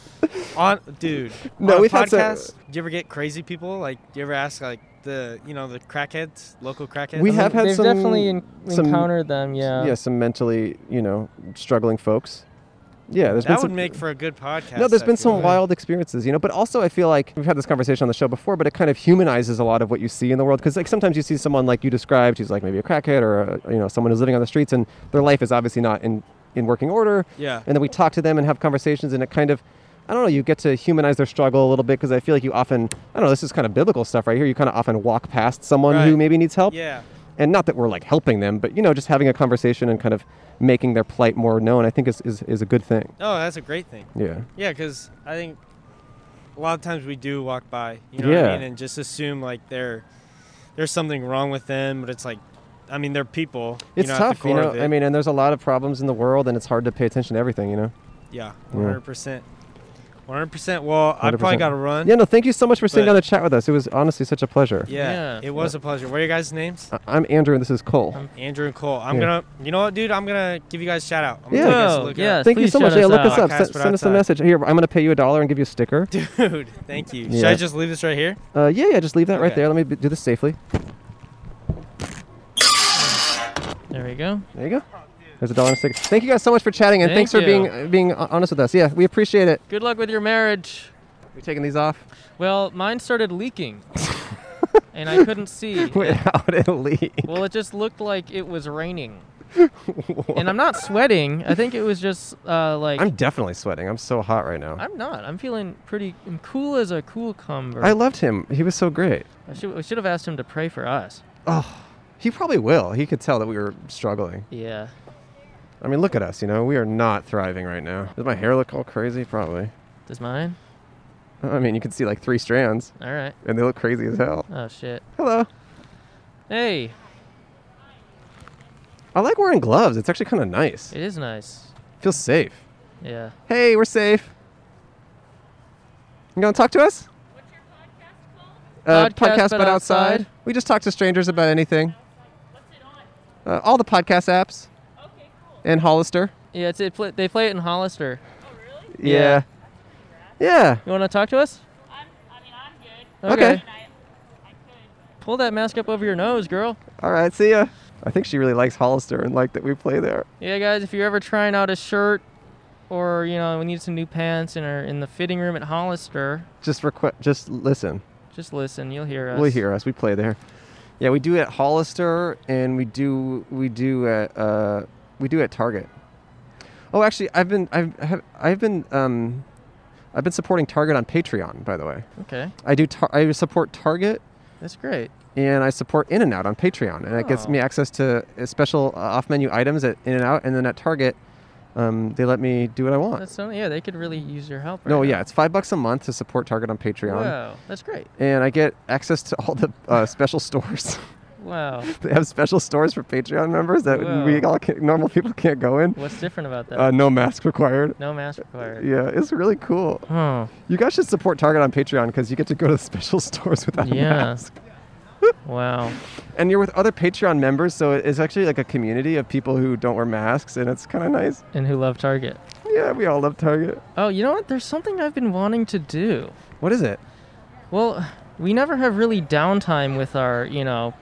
S8: On dude,
S2: No,
S8: on a
S2: we've had
S8: podcast.
S2: some-
S8: do you ever get crazy people? Like, do you ever ask like the you know the crackheads, local crackheads?
S2: We have had
S1: They've
S2: some-
S1: definitely en-
S2: some-
S1: encountered them. Yeah.
S2: yeah, some mentally, you know, struggling folks. Yeah, there's been
S8: that would
S2: some,
S8: make for a good podcast.
S2: No, there's
S8: I
S2: been
S8: feel
S2: some
S8: like.
S2: wild experiences, you know. But also, I feel like we've had this conversation on the show before, but it kind of humanizes a lot of what you see in the world because, like, sometimes you see someone like you described, who's like maybe a crackhead or a, you know someone who's living on the streets, and their life is obviously not in in working order.
S8: Yeah.
S2: And then we talk to them and have conversations, and it kind of, I don't know, you get to humanize their struggle a little bit because I feel like you often, I don't know, this is kind of biblical stuff right here. You kind of often walk past someone who
S8: Right.
S2: maybe needs help,
S8: Yeah.
S2: and not that we're like helping them, but you know, just having a conversation and kind of making their plight more known, I think is is, is a good thing.
S8: Oh, that's a great thing.
S2: Yeah.
S8: Yeah, because I think a lot of times we do walk by, you know what
S2: Yeah.
S8: I mean, and just assume like they're there's something wrong with them, but it's like, I mean, they're people.
S2: It's
S8: you know, At the
S2: tough,
S8: core
S2: you know.
S8: of it.
S2: I mean, and there's a lot of problems in the world, and it's hard to pay attention to everything, you know.
S8: yeah, one hundred percent, one hundred percent. Well, I
S2: 100%.
S8: probably got to run.
S2: Yeah, no. Thank you so much for sitting
S8: But-
S2: down to chat with us. It was honestly such a pleasure.
S8: Yeah,
S1: Yeah.
S8: it was a pleasure. What are your guys' names?
S2: I- I'm Andrew, and this is Cole.
S8: Andrew and Cole. I'm
S2: Yeah.
S8: gonna, you know what, dude? I'm gonna give you guys a shout out. I'm
S2: Yeah.
S8: gonna
S1: Whoa,
S8: take
S1: Oh, yeah.
S8: yeah.
S2: thank you
S1: please
S2: so much.
S1: shout
S2: Yeah,
S1: us
S2: look
S1: out.
S2: us up.
S8: Podcast
S2: Send,
S8: Without
S2: send us a
S8: Time.
S2: message. Here, I'm gonna pay you a dollar and give you a sticker.
S8: Dude, thank you. Should
S2: Yeah.
S8: I just leave this right here?
S2: Uh, yeah, yeah. Just leave that right
S8: Okay.
S2: there. Let me b- do this safely.
S1: There we go.
S2: There you go. There's a dollar and a sticker. Thank you guys so much for chatting, and
S1: Thank
S2: thanks for being
S1: you.
S2: uh, being uh, honest with us. Yeah, we appreciate it.
S1: Good luck with your marriage.
S2: We taking these off?
S1: Well, mine started leaking, and I couldn't see.
S2: Wait, how did it leak?
S1: Well, it just looked like it was raining, and I'm not sweating. I think it was just uh, like
S2: I'm definitely sweating. I'm so hot right now.
S1: I'm not. I'm feeling pretty. I'm cool as a cool cumber.
S2: I loved him. He was so great.
S1: I should, we should have asked him to pray for us.
S2: Oh, he probably will. He could tell that we were struggling.
S1: Yeah.
S2: I mean, look at us. You know, we are not thriving right now. Does my hair look all crazy? Probably.
S1: Does mine?
S2: I mean, you can see like three strands,
S1: All right.
S2: and they look crazy as hell.
S1: Oh shit.
S2: Hello.
S1: Hey,
S2: I like wearing gloves. It's actually kind of nice.
S1: it is nice.
S2: Feels safe.
S1: Yeah.
S2: Hey, we're safe. You gonna talk to us? Uh,
S1: Podcast But Outside.
S2: We just talk to strangers about anything. Uh, all the podcast apps. And Hollister.
S1: Yeah. It's it. Pl- they play it in Hollister.
S2: Yeah. Yeah.
S1: You want to talk to us? I'm, I mean, I'm good.
S2: Okay.
S1: Pull that mask up over your nose, girl.
S2: All right. See ya. I think she really likes Hollister and liked that we play there.
S1: Yeah, guys, if you're ever trying out a shirt or, you know, we need some new pants and are in the fitting room at Hollister,
S2: Just requ- Just listen.
S1: just listen. You'll hear us.
S2: We'll hear us. We play there. Yeah, we do at Hollister, and we do we do at uh, we do at Target. Oh, actually, I've been I've I have, I've been um, I've been supporting Target on Patreon. By the way,
S1: Okay.
S2: I do tar- I support Target
S1: That's great.
S2: and I support In and Out on Patreon, and it gets
S1: Oh.
S2: me access to uh, special uh, off-menu items at In and Out, and then at Target, um, they let me do what I want.
S1: That's so, yeah, they could really use your help. Right
S2: no,
S1: now.
S2: yeah, it's five bucks a month to support Target on Patreon,
S1: Wow, that's great.
S2: and I get access to all the uh, special stores.
S1: Wow.
S2: they have special stores for Patreon members that we
S1: Wow.
S2: all can, normal people can't go in.
S1: What's different about that?
S2: Uh, no mask required.
S1: no mask required.
S2: Yeah, it's really cool.
S1: Oh,
S2: You guys should support Target on Patreon because you get to go to the special stores without a
S1: Yeah.
S2: mask.
S1: wow.
S2: And you're with other Patreon members, so it's actually like a community of people who don't wear masks, and it's kind of nice.
S1: And who love Target?
S2: Yeah, we all love Target.
S1: Oh, you know what? There's something I've been wanting to do.
S2: What is it?
S1: Well, we never have really downtime with our, you know,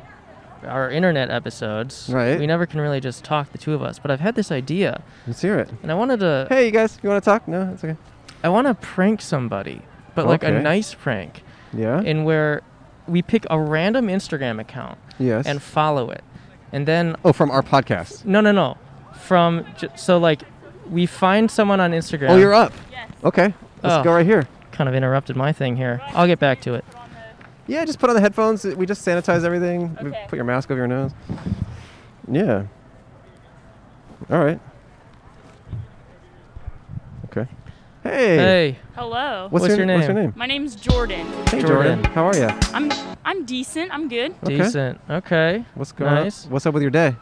S1: our internet episodes.
S2: Right.
S1: We never can really just talk, the two of us. But I've had this idea,
S2: Let's hear it.
S1: and I wanted to.
S2: Hey, you guys, you want to talk? No, it's okay.
S1: I want to prank somebody, but like
S2: Okay.
S1: a nice prank,
S2: Yeah.
S1: in where we pick a random Instagram account
S2: yes.
S1: and follow it, and then
S2: oh, from our podcast.
S1: no, no, no, from j- so like we find someone on Instagram.
S2: Oh, you're up. Okay, let's
S1: Oh.
S2: go right here.
S1: kind of interrupted my thing here. I'll get back to it.
S2: Yeah, just put on the headphones. We just sanitize everything. We put your mask over your nose. Yeah. All right. Okay. Hey.
S1: Hey,
S9: Hello.
S2: What's,
S1: What's
S2: your,
S1: your
S2: What's your
S1: name?
S2: name?
S9: My name's Jordan.
S2: Hey, Jordan.
S1: Jordan.
S2: How are you?
S9: I'm I'm decent. I'm good.
S2: Okay.
S1: decent. Okay.
S2: What's going on?
S1: Nice.
S2: What's up with your day?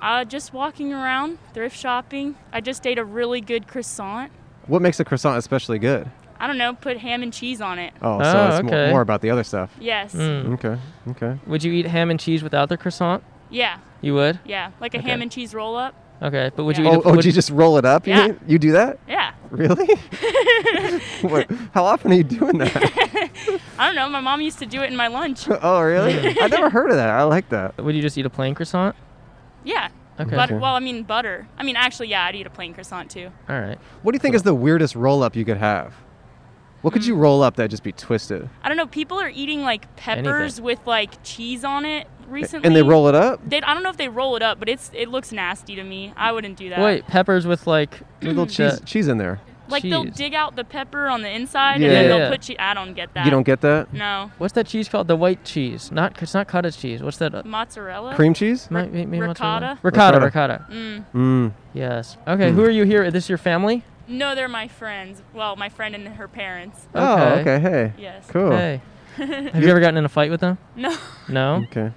S9: Uh, just walking around, thrift shopping. I just ate a really good croissant.
S2: What makes a croissant especially good?
S9: I don't know, put ham and cheese on it.
S2: Oh,
S1: Oh,
S2: so it's mo-
S1: okay.
S2: more about the other stuff.
S9: Yes.
S1: Mm.
S2: Okay. Okay.
S1: Would you eat ham and cheese without the croissant?
S9: Yeah.
S1: You would.
S9: Yeah. Like a
S1: Okay.
S9: ham and cheese roll up.
S1: Okay, but would you?
S9: Yeah.
S1: Eat
S2: Oh,
S1: a,
S2: oh,
S1: would-
S2: do you just roll it up? You,
S9: Yeah.
S2: mean? you do that?
S9: Yeah.
S2: Really? what, how often are you doing that?
S9: I don't know. My mom used to do it in my lunch.
S2: oh, really? I never heard of that. I like that.
S1: would you just eat a plain croissant?
S9: Yeah.
S1: Okay.
S9: Butter.
S2: Okay.
S9: Well, I mean butter. I mean, actually, yeah, I'd eat a plain croissant too.
S1: All right.
S2: What do you think is the weirdest roll up you could have? What could
S9: Hmm.
S2: you roll up that'd just be twisted?
S9: I don't know. People are eating like peppers
S1: Anything.
S9: with like cheese on it recently.
S2: And they roll it up?
S9: They, I don't know if they roll it up, but it's it looks nasty to me. I wouldn't do that.
S1: Wait, peppers with like
S2: Little cheese,
S1: the-
S2: cheese in there.
S9: Like they'll
S1: cheese.
S9: dig out the pepper on the inside
S2: Yeah.
S9: and then
S1: Yeah.
S9: they'll put you. I don't get that.
S2: You don't get that?
S9: No.
S1: What's that cheese called? The white cheese. Not it's not cottage cheese. What's that? Uh,
S9: Mozzarella.
S2: Cream cheese?
S1: might- may- may-
S9: ricotta?
S1: Ricotta.
S2: Ricotta.
S1: Ricotta.
S9: Mm.
S2: Mm.
S1: Yes. Okay. Who are you here? This your family?
S9: No, they're my friends. Well, my friend and her parents.
S2: Oh,
S1: Okay.
S2: okay. Hey.
S9: Yes.
S2: Cool.
S1: Hey. Have you ever gotten in a fight with them?
S9: No.
S1: No.
S2: Okay.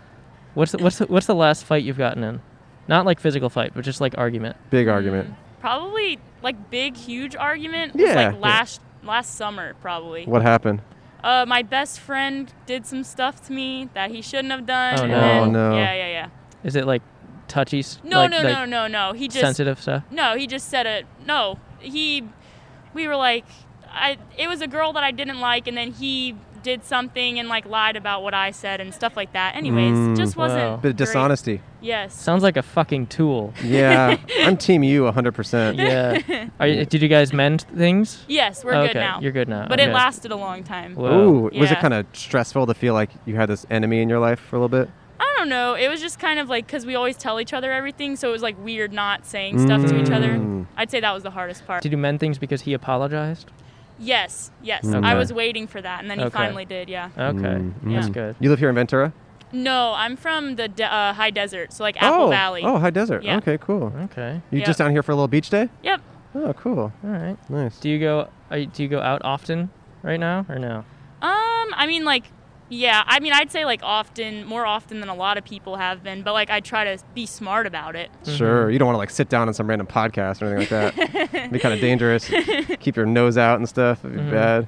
S1: What's the, what's the, what's the last fight you've gotten in? Not like physical fight, but just like argument.
S2: Big
S9: Mm.
S2: argument.
S9: Probably like big, huge argument.
S2: Yeah.
S9: was,
S2: Yeah.
S9: Like last last summer, probably.
S2: What happened?
S9: Uh, my best friend did some stuff to me that he shouldn't have done.
S1: Oh,
S9: and
S1: no.
S9: then-
S1: Oh,
S2: no.
S9: Yeah, yeah, yeah.
S1: Is it like touchy? s-
S9: No,
S1: like,
S9: no,
S1: like
S9: no, no, no. He just
S1: sensitive stuff.
S9: No, he just said it. No, he. We were like, I. It was a girl that I didn't like, and then he did something and like lied about what I said and stuff like that. Anyways,
S1: Hmm,
S2: Mm.
S9: just wasn't
S1: Wow.
S2: Bit of
S9: great.
S2: dishonesty.
S9: Yes.
S1: Sounds like a fucking tool.
S2: Yeah, I'm team you 100%.
S1: Yeah. Are you, did you guys mend things? Oh,
S9: Yes, we're
S1: okay,
S9: good now.
S1: You're good now.
S9: But
S1: okay.
S9: it lasted a long time.
S1: Whoa.
S2: Ooh, was it
S9: Yeah.
S2: kind of stressful to feel like you had this enemy in your life for a little bit?
S9: I don't know. It was just kind of like because we always tell each other everything, so it was like weird not saying stuff to each
S2: Mm.
S9: other. I'd say that was the hardest part.
S1: Did you mend things because he apologized?
S9: Yes, yes.
S1: Okay.
S9: I was waiting for that, and then he
S1: Okay.
S9: finally did. Yeah.
S1: Okay,
S2: Mm,
S1: that's
S9: mm.
S1: good.
S2: You live here in Ventura?
S9: No, I'm from the de- uh, high desert, so like Apple
S2: oh,
S9: Valley.
S2: Oh, high desert.
S9: Yeah.
S2: Okay, cool.
S1: Okay,
S2: You
S9: Yeah.
S2: just down here for a little beach day?
S9: Yep.
S2: Oh, cool.
S1: all right.
S2: Nice.
S1: Do you go? Are you, do you go out often right now or no?
S9: Um, I mean, like, yeah. I mean, I'd say like often, more often than a lot of people have been, but like I try to be smart about it.
S1: Mm-hmm.
S2: Sure. You don't want to like sit down on some random podcast or anything like that. It'd be kind of dangerous. Keep your nose out and stuff. It'd be
S1: Mhm.
S2: bad.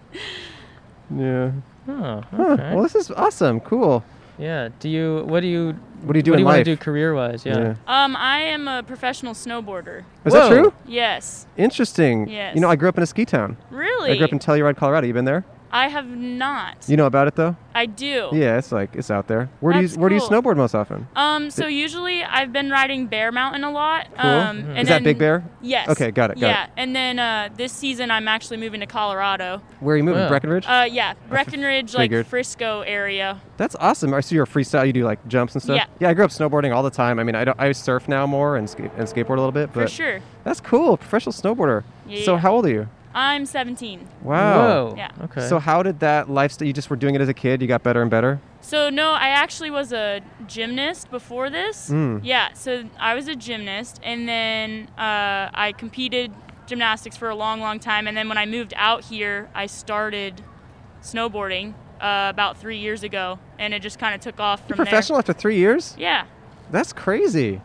S2: Yeah.
S1: Oh,
S2: Huh.
S1: okay.
S2: Well, this is awesome. Cool.
S1: yeah. Do you? What do you?
S2: What do you do
S1: what
S2: in
S1: do you
S2: life?
S1: want to do career-wise? Yeah.
S9: Um, I am a professional snowboarder.
S2: Is that
S1: Whoa.
S2: true?
S9: Yes,
S2: Interesting.
S9: Yes.
S2: You know, I grew up in a ski town.
S9: really.
S2: I grew up in Telluride, Colorado. You been there?
S9: I have not.
S2: You know about it though?
S9: I do.
S2: Yeah, it's like it's out there. Where do
S9: That's
S2: you where do you
S9: cool.
S2: snowboard most often?
S9: Um, so usually I've been riding Bear Mountain a lot.
S2: Cool.
S9: Um,
S2: Mm.
S9: and
S2: Is that Big
S9: then-
S2: Bear?
S9: Yes.
S2: Okay, got it, got it.
S9: yeah, and then uh, this season I'm actually moving to Colorado.
S2: Where are you moving?
S1: Wow.
S2: Breckenridge?
S9: Uh, yeah, Breckenridge, like
S2: figured.
S9: Frisco area.
S2: That's awesome. I see you're a freestyle. You do like jumps and stuff.
S9: Yeah.
S2: I grew up snowboarding all the time. I mean, I, don't, I surf now more and, ska- and skateboard a little bit,
S9: For
S2: but
S9: sure.
S2: that's cool. Professional snowboarder. So
S9: Yeah.
S2: how old are you?
S9: I'm 17.
S2: Wow.
S1: Whoa.
S9: Yeah.
S1: Okay.
S2: So how did that lifestyle? You just were doing it as a kid. You got better and better.
S9: So no, I actually was a gymnast before this.
S2: Mm.
S9: Yeah, so I was a gymnast, and then uh, I competed gymnastics for a long, long time, and then when I moved out here, I started snowboarding uh, about three years ago, and it just kind of took off
S2: You're
S9: from
S2: professional after three years.
S9: there. Yeah.
S2: That's crazy.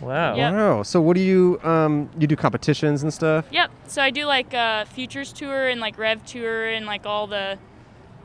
S1: wow.
S9: Yep.
S2: Wow. So what do you um you do competitions and stuff?
S9: Yep. So I do like uh, futures tour and like rev tour and like all the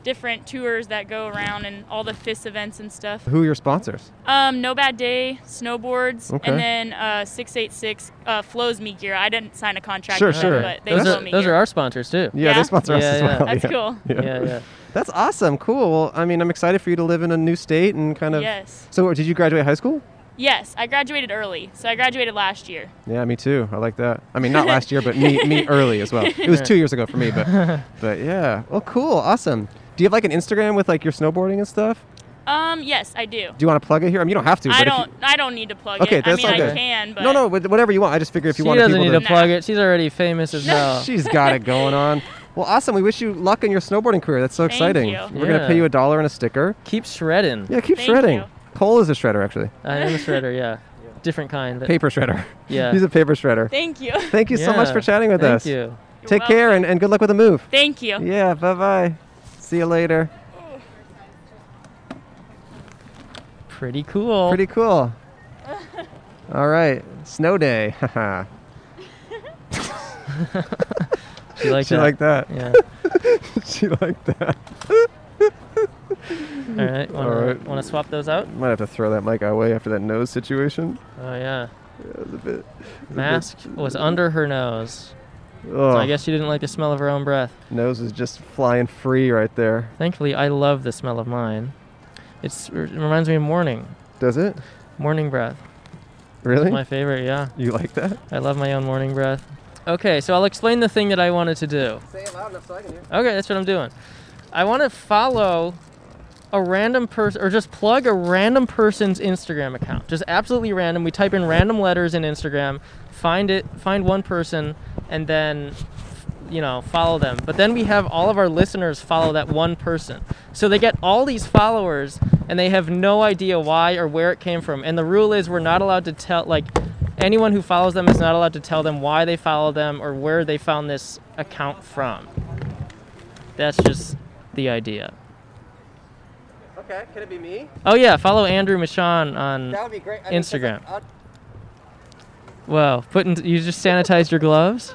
S9: different tours that go around and all the FIS events and stuff.
S2: Who are your sponsors?
S9: Um, no bad day, snowboards,
S2: Okay.
S9: and then uh, six eight six uh, flows me gear. I didn't sign a contract.
S2: Sure,
S9: with them,
S2: sure.
S9: But they
S1: Those
S9: flow
S1: are
S9: me
S1: those
S9: gear.
S1: are our sponsors too.
S2: Yeah,
S9: Yeah.
S2: they sponsor us
S1: Yeah,
S2: as
S1: yeah.
S2: well.
S9: That's
S2: yeah.
S9: cool.
S2: Yeah.
S1: Yeah. Yeah.
S2: That's awesome. Cool. Well, I mean, I'm excited for you to live in a new state and kind of.
S9: Yes.
S2: So did you graduate high school?
S9: Yes, I graduated early, so I graduated last year.
S2: Yeah, me too. I like that. I mean, not last year, but me me early as well. It was two years ago for me, but but yeah. Well, cool, awesome. Do you have like an Instagram with like your snowboarding and stuff?
S9: Um, yes, I do.
S2: Do you want to plug it here? I mean, you don't have to.
S9: I
S2: but if
S9: don't. I don't need to plug
S2: Okay,
S9: it.
S2: that's
S9: I mean,
S1: all
S9: I
S1: good.
S9: can,
S2: You,
S9: but
S2: no, no, wh- whatever you want. I just figure if you
S1: She
S2: want
S1: doesn't
S2: people
S1: need
S2: to.
S1: to plug it. She's already famous as hell.
S2: She's got it going on. Well, awesome. We wish you luck in your snowboarding career. That's so
S9: Thank
S2: exciting.
S9: you.
S2: We're gonna
S1: Yeah.
S2: pay you a dollar and a sticker.
S1: Keep shredding.
S2: Yeah, keep
S9: Thank
S2: shredding.
S9: you.
S2: Cole is a shredder actually.
S1: I am a shredder. Yeah. Different kind. But
S2: Paper shredder.
S1: Uh, Yeah.
S2: He's a paper shredder.
S9: Thank you.
S2: Thank you so much
S1: Yeah.
S2: for chatting with
S1: Thank
S2: us.
S1: you.
S9: You're
S2: Take care and, and good luck with the move.
S9: welcome. Thank you.
S2: Yeah, bye bye. See you later.
S1: Pretty cool.
S2: Pretty cool. All right, snow day. Haha.
S1: She liked
S2: she
S1: that.
S2: liked that.
S1: Yeah.
S2: she liked that.
S1: All right. Want
S2: All
S1: to
S2: right.
S1: want to swap those out?
S2: Might have to throw that mic away after that nose situation.
S1: Oh yeah.
S2: That was a bit.
S1: Mask was under her nose.
S2: Oh,
S1: So I guess she didn't like the smell of her own breath.
S2: nose is just flying free right there.
S1: Thankfully, I love the smell of mine. It's, it reminds me of morning.
S2: Does it?
S1: Morning breath.
S2: Really?
S1: It's my favorite, yeah.
S2: you like that?
S1: I love my own morning breath. Okay, so I'll explain the thing that I wanted to do.
S6: Say it loud enough so I can hear.
S1: Okay, that's what I'm doing. I want to follow a random person, or just plug a random person's Instagram account. Just absolutely random. We type in random letters in Instagram, find it, find one person, and then, you know, follow them. But then we have all of our listeners follow that one person. So they get all these followers, and they have no idea why or where it came from. And the rule is we're not allowed to tell, like, anyone who follows them is not allowed to tell them why they follow them or where they found this account from. That's just the idea.
S6: Okay, can it be me?
S1: Oh yeah, follow Andrew Michon on.
S6: That would be great. I mean, 'cause
S1: Instagram.
S6: I- I'll-
S1: Whoa, putting you just sanitized your gloves.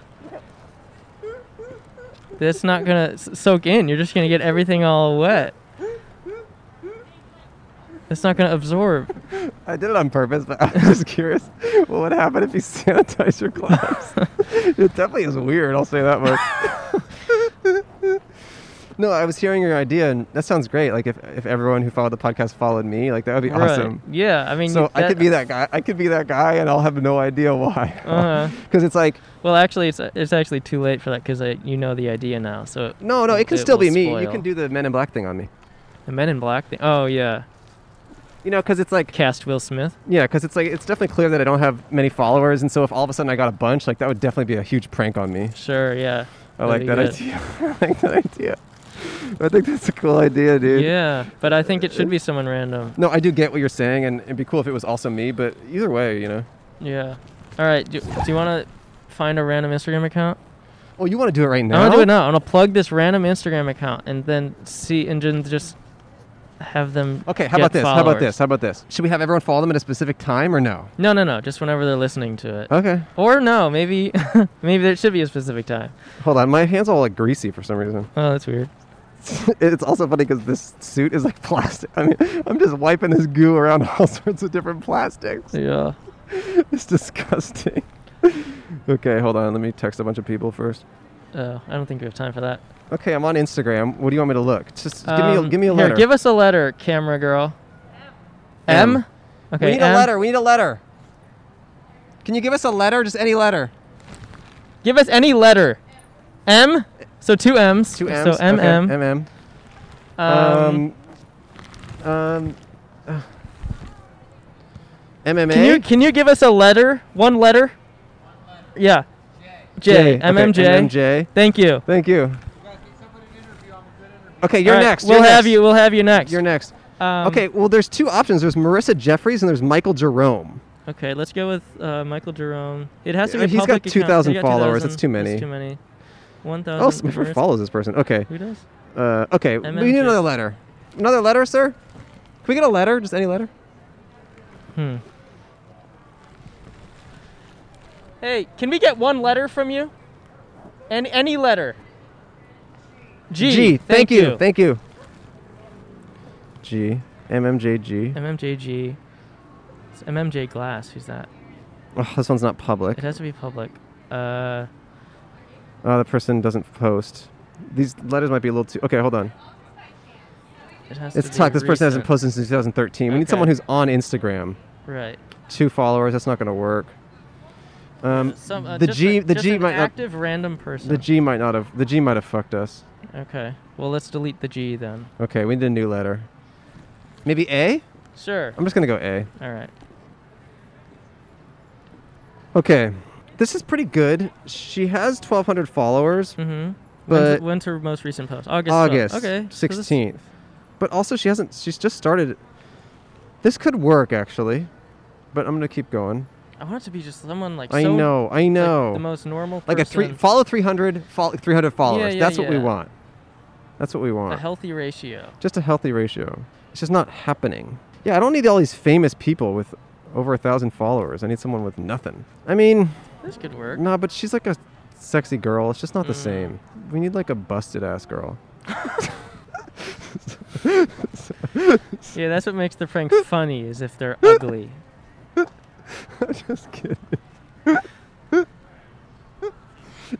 S1: That's not gonna s- soak in. You're just gonna get everything all wet. It's not gonna absorb.
S2: I did it on purpose, but I was just curious what would happen if you sanitize your gloves. it definitely is weird, I'll say that much. No, I was hearing your idea, and that sounds great. Like if, if everyone who followed the podcast followed me, like that would be
S1: Right.
S2: awesome.
S1: Yeah, I mean,
S2: so I
S1: that-
S2: could be that guy. I could be that guy, and I'll have no idea why.
S1: Uh-huh.
S2: Because it's like
S1: Well, actually, it's it's actually too late for that because you know the idea now. So it-
S2: no, no, it can still
S1: will
S2: be me. You
S1: spoil.
S2: can do the Men in Black thing on me.
S1: the Men in Black thing. Oh yeah,
S2: You know, because it's like
S1: cast Will Smith.
S2: yeah, because it's like it's definitely clear that I don't have many followers, and so if all of a sudden I got a bunch, like that would definitely be a huge prank on me.
S1: Sure, yeah.
S2: I
S1: That'd
S2: like
S1: be
S2: that
S1: good.
S2: idea. I like that idea. I think that's a cool idea, dude.
S1: Yeah, but I think it should be someone random.
S2: No, I do get what you're saying, and it'd be cool if it was also me. But either way, you know.
S1: Yeah. All right. Do, do you want to find a random Instagram account?
S2: Oh, you want to do it right now?
S1: I'm gonna do it now. I'm gonna plug this random Instagram account and then see and then just have them.
S2: Okay, how
S1: get
S2: about this? How about
S1: followers.
S2: this? How about this? Should we have everyone follow them at a specific time or no?
S1: No, no, no. Just whenever they're listening to it.
S2: Okay,
S1: Or no, maybe maybe there should be a specific time.
S2: hold on. My hands are all like greasy for some reason.
S1: Oh, that's weird.
S2: it's also funny because this suit is like plastic. I mean, I'm just wiping this goo around all sorts of different plastics.
S1: Yeah.
S2: It's disgusting. okay, hold on. Let me text a bunch of people first.
S1: Oh, I don't think we have time for that.
S2: Okay, I'm on Instagram. What do you want me to look? Just give me a,
S1: Um,
S2: give me a
S1: here,
S2: letter.
S1: Give us a letter, camera girl. M.
S2: M.
S1: Okay.
S2: we need
S1: M.
S2: a letter. We need a letter. Can you give us a letter? Just any letter.
S1: Give us any letter. M. So two M's.
S2: Two M's.
S1: So M
S2: okay,
S1: M.
S2: MM.
S1: Um.
S2: um, um, uh, MMA.
S1: Can you can you give us a letter? One letter. Yeah. J.
S2: J.
S1: M M
S2: Okay,
S1: J.
S2: MMJ.
S1: Thank you.
S2: Thank you. Okay, you're
S1: All right,
S2: next.
S1: We'll
S2: you're
S1: have
S2: next.
S1: you. We'll have you next.
S2: You're next.
S1: Um,
S2: okay, well, there's two options. There's Marissa Jeffries and there's Michael Jerome.
S1: Okay. Let's go with uh, Michael Jerome. It has to
S2: Yeah,
S1: be.
S2: Uh, he's got
S1: public account.
S2: 2,000
S1: He's got
S2: followers, that's
S1: 2,000.
S2: too many.
S1: too many. One
S2: Oh,
S1: thousand.
S2: someone follows this person. Okay.
S1: Who does?
S2: Uh, okay, we need
S1: MMJ.
S2: another letter. Another letter, sir? Can we get a letter? Just any letter?
S1: Hmm. Hey, can we get one letter from you? Any any letter. G.
S2: Thank, you. Thank you. G. MMJG.
S1: MMJG. It's MMJ Glass. Who's that?
S2: Oh, this one's not public.
S1: It has to be public. Uh,
S2: Oh, the person doesn't post. These letters might be a little too. Okay, hold on.
S1: it has
S2: It's
S1: to
S2: talk.
S1: be
S2: This person hasn't
S1: recent.
S2: posted since 2013. We
S1: Okay.
S2: need someone who's on Instagram.
S1: Right.
S2: Two followers. That's not going to work. Um,
S1: Some, uh,
S2: the
S1: just
S2: G.
S1: a-
S2: the
S1: just
S2: G
S1: an
S2: might not.
S1: active random person.
S2: The G might not have. The G might have fucked us.
S1: Okay. Well, let's delete the G then.
S2: Okay, we need a new letter. Maybe A.
S1: Sure.
S2: I'm just going to go A.
S1: All right.
S2: Okay, this is pretty good. She has 1,200 followers.
S1: Mm-hmm. when's,
S2: But-
S1: when's her most recent post? August. 12th.
S2: August
S1: Okay. so this-
S2: 16th. But also, she hasn't. She's just started. This could work actually, but I'm gonna keep going.
S1: I want it to be just someone like.
S2: I
S1: so
S2: know. I
S1: like,
S2: know.
S1: the most normal
S2: like a three
S1: person,
S2: follow 300 follow 300 followers
S1: yeah,
S2: that's what we
S1: yeah.
S2: want that's what we want
S1: a healthy ratio.
S2: just a healthy ratio it's just not happening yeah i don't need all these famous people with over a thousand followers i need someone with nothing i mean
S1: This could work. Mm.
S2: nah but she's like a sexy girl it's just not the same we need like a busted ass girl
S1: Yeah, that's what makes the prank funny is if they're ugly.
S2: i'm just kidding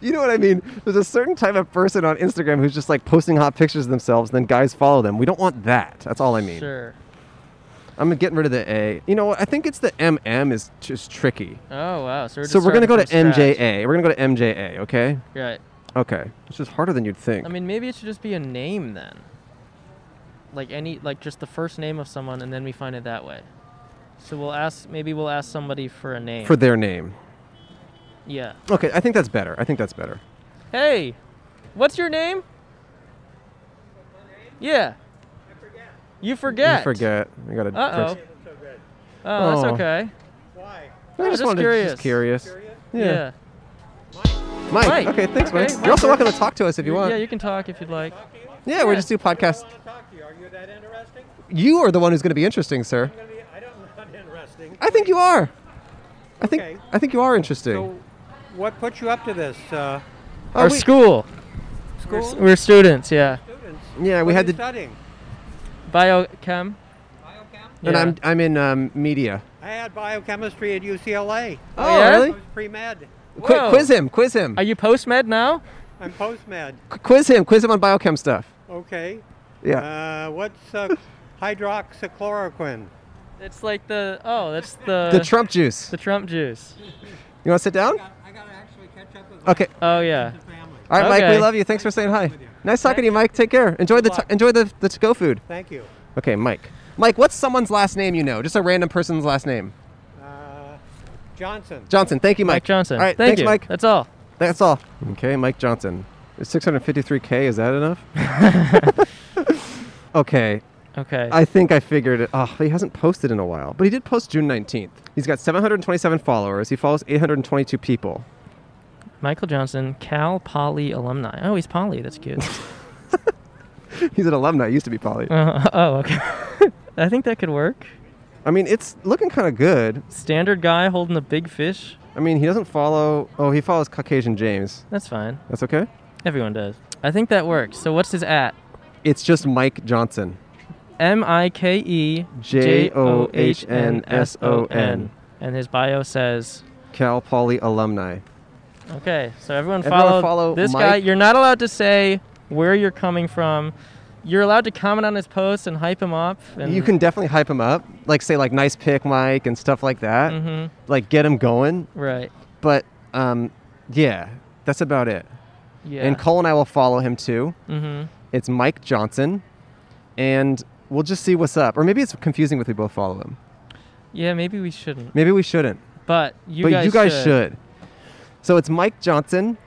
S2: You know what I mean? There's a certain type of person on Instagram who's just like posting hot pictures of themselves, and then guys follow them. We don't want that. That's all I mean.
S1: Sure.
S2: I'm getting rid of the A. You know what? I think it's the MM is just tricky.
S1: Oh wow. So we're, just
S2: so we're gonna
S1: starting
S2: go to
S1: from scratch.
S2: MJA. We're gonna go to MJA. Okay.
S1: Right.
S2: Okay. Which is harder than you'd think.
S1: I mean, maybe it should just be a name then. Like any, like just the first name of someone, and then we find it that way. So we'll ask. Maybe we'll ask somebody for a name.
S2: for their name.
S1: yeah.
S2: Okay. I think that's better. I think that's better.
S1: Hey, what's your name? Yeah. You forget.
S2: You forget. I got a.
S1: Uh oh.
S2: text.
S1: Oh,
S2: Oh.
S1: that's okay.
S2: I
S1: Oh,
S2: just
S1: just
S2: wanted
S1: curious.
S2: just curious.
S1: Yeah.
S2: Yeah. Mike.
S1: Mike.
S2: Okay. Thanks,
S1: Okay,
S2: Mike.
S1: Mike,
S2: You're also welcome
S1: thanks.
S2: to talk to us if you want.
S1: Yeah, you can talk if you'd like.
S2: Yeah, we
S1: yeah.
S2: just do podcast. You are the one who's going to be interesting, sir. I think you are. I think
S10: Okay.
S2: I think you are interesting.
S10: So, what put you up to this? Uh,
S2: Oh,
S1: Our
S2: we-
S1: school.
S10: school
S1: We're students. Yeah.
S10: students.
S2: yeah, we
S10: What
S2: had
S10: are you
S2: to
S10: studying.
S1: Biochem.
S10: Biochem.
S2: And
S1: Yeah.
S2: I'm I'm in um, media.
S10: I had biochemistry at UCLA.
S1: Oh, yeah?
S10: I was pre-med.
S2: Qui-
S1: Whoa.
S2: quiz him, quiz him,
S1: Are you post med now?
S10: I'm post-med.
S2: Qu- quiz him, quiz him on biochem stuff.
S10: Okay.
S2: Yeah.
S10: Uh, what's uh, hydroxychloroquine?
S1: It's like the oh, that's the
S2: The Trump juice.
S1: The Trump juice.
S2: You want to sit down? Okay.
S1: Oh yeah.
S2: All right, Mike. We love you. Thanks for saying hi. Nice talking to you, Mike. Take care. Enjoy the t- enjoy the the to-go food.
S10: Thank you.
S2: Okay, Mike. Mike, what's someone's last name you know? Just a random person's last name.
S10: Johnson.
S2: Johnson. Thank you, Mike.
S1: Mike Johnson.
S2: All right.
S1: Thank
S2: thanks,
S1: you.
S2: Mike.
S1: That's all.
S2: That's all. Okay, Mike Johnson. Is 653k. Is that enough? okay.
S1: Okay.
S2: I think I figured it. Oh, he hasn't posted in a while, but he did post June 19th. He's got 727 followers. He follows 822 people.
S1: Michael Johnson, Cal Poly alumni. Oh, he's Poly. That's cute.
S2: He's an alumni. He used to be Poly.
S1: Uh, oh, okay. I think that could work.
S2: I mean, it's looking kind of good.
S1: Standard guy holding a big fish.
S2: I mean, he doesn't follow. Oh, he follows Caucasian James.
S1: That's fine.
S2: That's okay.
S1: Everyone does. I think that works. So what's his at?
S2: It's just Mike Johnson.
S1: M I K E
S2: J O H N S O N.
S1: And his bio says,
S2: Cal Poly alumni.
S1: okay, so everyone
S2: Everyone
S1: follow,
S2: follow
S1: this guy.
S2: Mike-
S1: You're not allowed to say where you're coming from. You're allowed to comment on his posts and hype him up. And
S2: you can definitely hype him up, like say like nice pick, Mike, and stuff like that.
S1: Mhm.
S2: Like get him going.
S1: Right.
S2: But um, yeah, that's about it.
S1: Yeah.
S2: And Cole and I will follow him too.
S1: Mhm.
S2: It's Mike Johnson, and we'll just see what's up. Or maybe it's confusing if we both follow him.
S1: Yeah, maybe we shouldn't.
S2: Maybe we shouldn't.
S1: But you
S2: but
S1: guys
S2: you guys
S1: should.
S2: should. So it's Mike Johnson,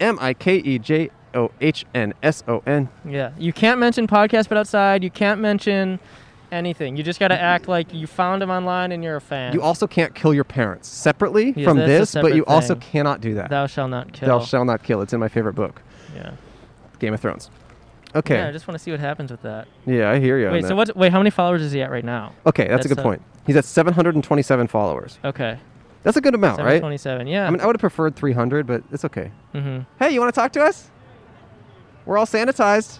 S2: M I K E J O H N S O N.
S1: Yeah, you can't mention podcast, but outside you can't mention anything. You just got to act like you found him online and you're a fan.
S2: You also can't kill your parents separately
S1: Yeah,
S2: from
S1: that's a
S2: this, but
S1: separate
S2: you also
S1: thing.
S2: cannot do that.
S1: Thou shall not kill.
S2: Thou shall not kill. It's in my favorite book.
S1: Yeah.
S2: Game of Thrones. Okay.
S1: Yeah, I just want to see what happens with that.
S2: Yeah, I hear you on
S1: Wait, so
S2: that.
S1: what? Wait, how many followers is he at right now?
S2: okay, that's, a good
S1: uh,
S2: point. He's at 727 followers.
S1: Okay.
S2: That's a good amount, right?
S1: 727, yeah.
S2: I mean, I would have preferred 300, but it's okay.
S1: Mhm.
S2: Hey, you want to talk to us? We're all sanitized.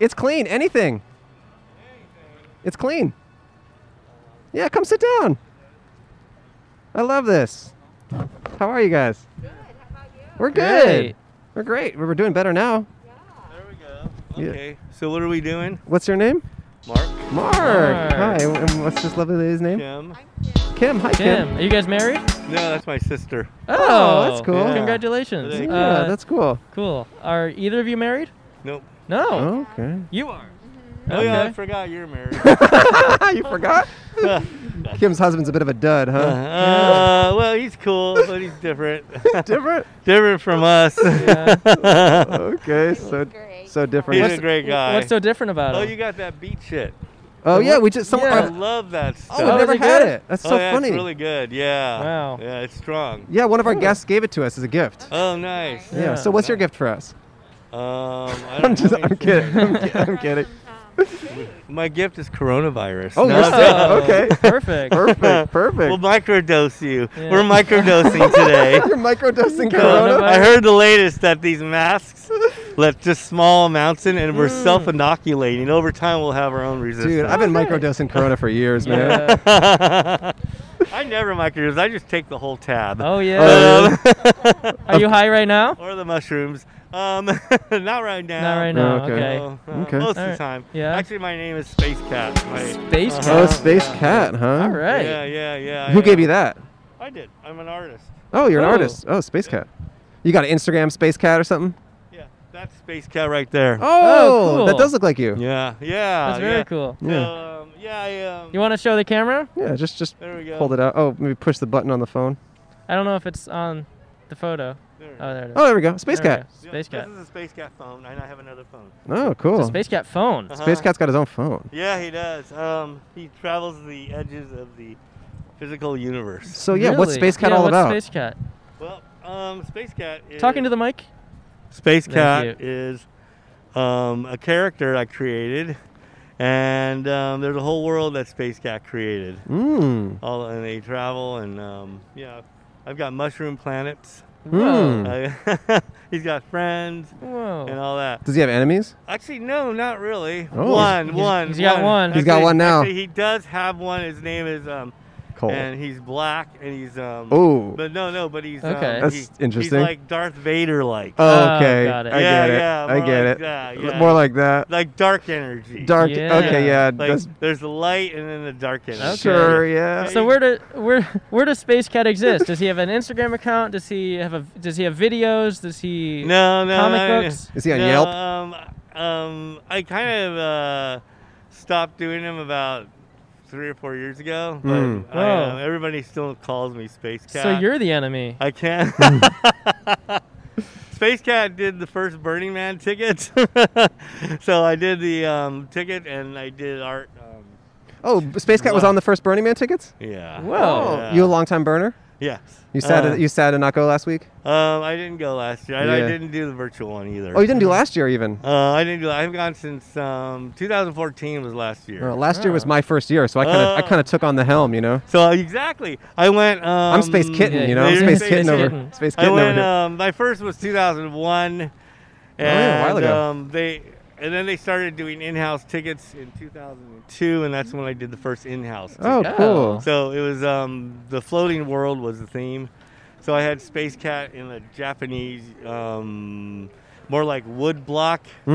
S2: It's clean. Anything. It's clean. Yeah, come sit down. I love this. How are you guys? Good. How about you? We're good.
S11: Great.
S2: We're great. We're doing better now. Yeah.
S11: Okay, so what are we doing?
S2: What's your name?
S11: Mark.
S2: Mark. Hi. And what's this lovely lady's name?
S11: Kim.
S2: Kim. Hi, Kim.
S1: Kim, are you guys married?
S11: No, that's my sister.
S1: Oh,
S2: that's cool. Yeah.
S1: Congratulations.
S2: Yeah,
S1: Uh,
S2: that's cool.
S1: Cool. Are either of you married?
S11: Nope.
S1: No.
S2: Okay.
S1: You are.
S11: Oh, yeah, I
S1: Okay.
S11: forgot you're married.
S2: you forgot? Kim's husband's a bit of a dud, huh?
S11: Uh, well, he's cool, but he's different.
S2: different?
S11: different from us.
S2: okay, so so different.
S11: He's a great guy.
S1: what's so different about
S11: oh,
S1: him?
S11: you got that beat shit.
S2: Oh, yeah, we just- someone-
S11: I
S2: I-
S11: love that stuff.
S2: Oh, I've never had it. That's
S11: Oh,
S2: so
S11: yeah,
S2: funny.
S11: It's really good. Yeah.
S2: Wow.
S11: Yeah, it's strong. Um,
S2: Yeah, one of our guests gave it to us as a gift.
S11: Oh, nice.
S2: Yeah. So what's your gift for us?
S11: Um, I
S2: I'm
S11: don't
S2: just. I'm
S11: have anything.
S2: kidding. I'm, ki- I'm kidding.
S11: My gift is coronavirus.
S2: Oh,
S11: No,
S2: you're
S11: I'm
S2: sick.
S11: joking.
S2: Okay. Perfect. Perfect, perfect.
S11: We'll microdose you. We're microdosing today.
S2: You're microdosing Corona.
S11: I heard the latest that these masks left just small amounts in, and we're
S1: Mm.
S11: self-inoculating. Over time, we'll have our own resistance.
S2: Dude, I've been microdosing Corona for years, man.
S11: I never microdose. I just take the whole tab.
S1: Oh yeah.
S11: But, um,
S1: Are you high right now?
S11: Or the mushrooms? Um, not right now.
S1: Not right now, Oh, okay. okay.
S11: No, no,
S1: Okay.
S11: Most of the
S1: Alright,
S11: time. Yeah. Actually, my name is Space Cat. My,
S1: Space
S11: Uh-huh.
S2: Oh, Space Cat, huh?
S1: All right.
S11: Yeah, yeah, yeah.
S2: Who
S11: I
S2: gave
S11: am.
S2: you that?
S11: I did. I'm an artist.
S2: Oh, you're an
S11: Oh.
S2: artist. Oh, Space Cat. You got an Instagram Space Cat or something?
S11: That's Space Cat right there.
S2: Oh, that does look like you.
S11: Yeah, yeah.
S1: That's very
S11: yeah.
S1: cool.
S2: Yeah.
S11: Um, yeah, I, um,
S1: You want to show the camera?
S2: Yeah, just just
S11: There we go.
S2: hold it out. Oh, maybe push the button on the phone.
S1: I don't know if it's on the photo. oh, there it is.
S2: Oh, there we go. Space
S1: There
S2: Cat.
S1: we go. Space Cat.
S11: This is a Space Cat phone, and I have another phone. Uh-huh.
S2: Oh, cool.
S1: It's a Space Cat phone.
S2: Space Cat's got his own phone.
S11: Yeah, he does. Um, he travels the edges of the physical universe.
S2: So yeah, what's Space Cat
S1: Yeah,
S2: all
S1: what's
S2: about?
S1: Space Cat.
S11: Well, um, Space Cat is.
S1: Talking to the mic.
S11: Space
S1: Thank
S11: Cat is um, a character I created, and um, there's a whole world that Space Cat created.
S2: Mm.
S11: All and they travel, and um, yeah, I've got mushroom planets.
S2: Hmm.
S11: I- he's got friends
S1: Whoa.
S11: and all that.
S2: Does he have enemies?
S11: Actually, no, not really.
S2: Oh.
S11: One,
S2: He's-
S11: one.
S2: he's got one. He's got
S11: Actually-
S2: one now.
S11: Actually, he does have one. His name is um,
S2: cold.
S11: And he's black, and he's um.
S2: Ooh.
S11: But no, no, but he's
S2: Okay.
S11: um,
S2: That's
S11: he- he's
S2: interesting.
S11: like Darth Vader, like.
S2: Oh, okay. I
S11: yeah,
S2: get it.
S11: yeah,
S2: I
S11: more
S2: get
S11: like
S2: it.
S11: that,
S2: L-
S11: yeah.
S2: More like that.
S11: Like dark energy.
S2: Dark- Yeah. okay, yeah,
S11: Like,
S2: that's-
S11: there's the light and then the dark energy.
S2: Sure, yeah.
S1: So where do where where does Space Cat exist? Does he have an Instagram account? Does he have a does he have videos? Does he
S11: No, no,
S1: comic
S11: no, no.
S1: books?
S11: No, Um, um, I kind of uh, stopped doing them about three or four years ago. But
S2: Hmm.
S1: Mm.
S11: I, uh,
S1: Whoa.
S11: everybody still calls me Space Cat.
S1: So you're the enemy.
S11: I can't. Space Cat did the first Burning Man ticket, so I did the um, ticket and I did art. Um,
S2: Oh, B- Space Cat was
S11: Whoa.
S2: on the first Burning Man tickets.
S11: Yeah.
S2: Oh,
S11: Yeah.
S2: You a long time burner?
S11: Yes.
S2: You sad?
S11: Uh,
S2: you sad to not go last week?
S11: Um, I didn't go last year. I, I
S2: Yeah.
S11: didn't do the virtual one either.
S2: Oh, you didn't do last year even.
S11: Uh, I didn't do. I've gone since um, 2014 was last year.
S2: Or last year
S1: Oh.
S2: was my first year, so I kind of I
S11: Oh.
S2: kind of took on the helm, you know.
S11: So uh, exactly, I went. Um,
S2: I'm Space Kitten, you know, I'm
S11: you're
S2: Space Kitten over- Space
S11: I
S2: Kitten over
S11: went.
S2: here. Oh,
S11: Um, my first was 2001, and
S2: yeah, a while ago.
S11: um, they and then they started doing in-house tickets in 2002, and that's when I did the first in-house. Ticket.
S2: Oh, cool.
S11: So it was um, the floating world was the theme. So I had Space Cat in a Japanese, um, more like wood block
S2: Mm.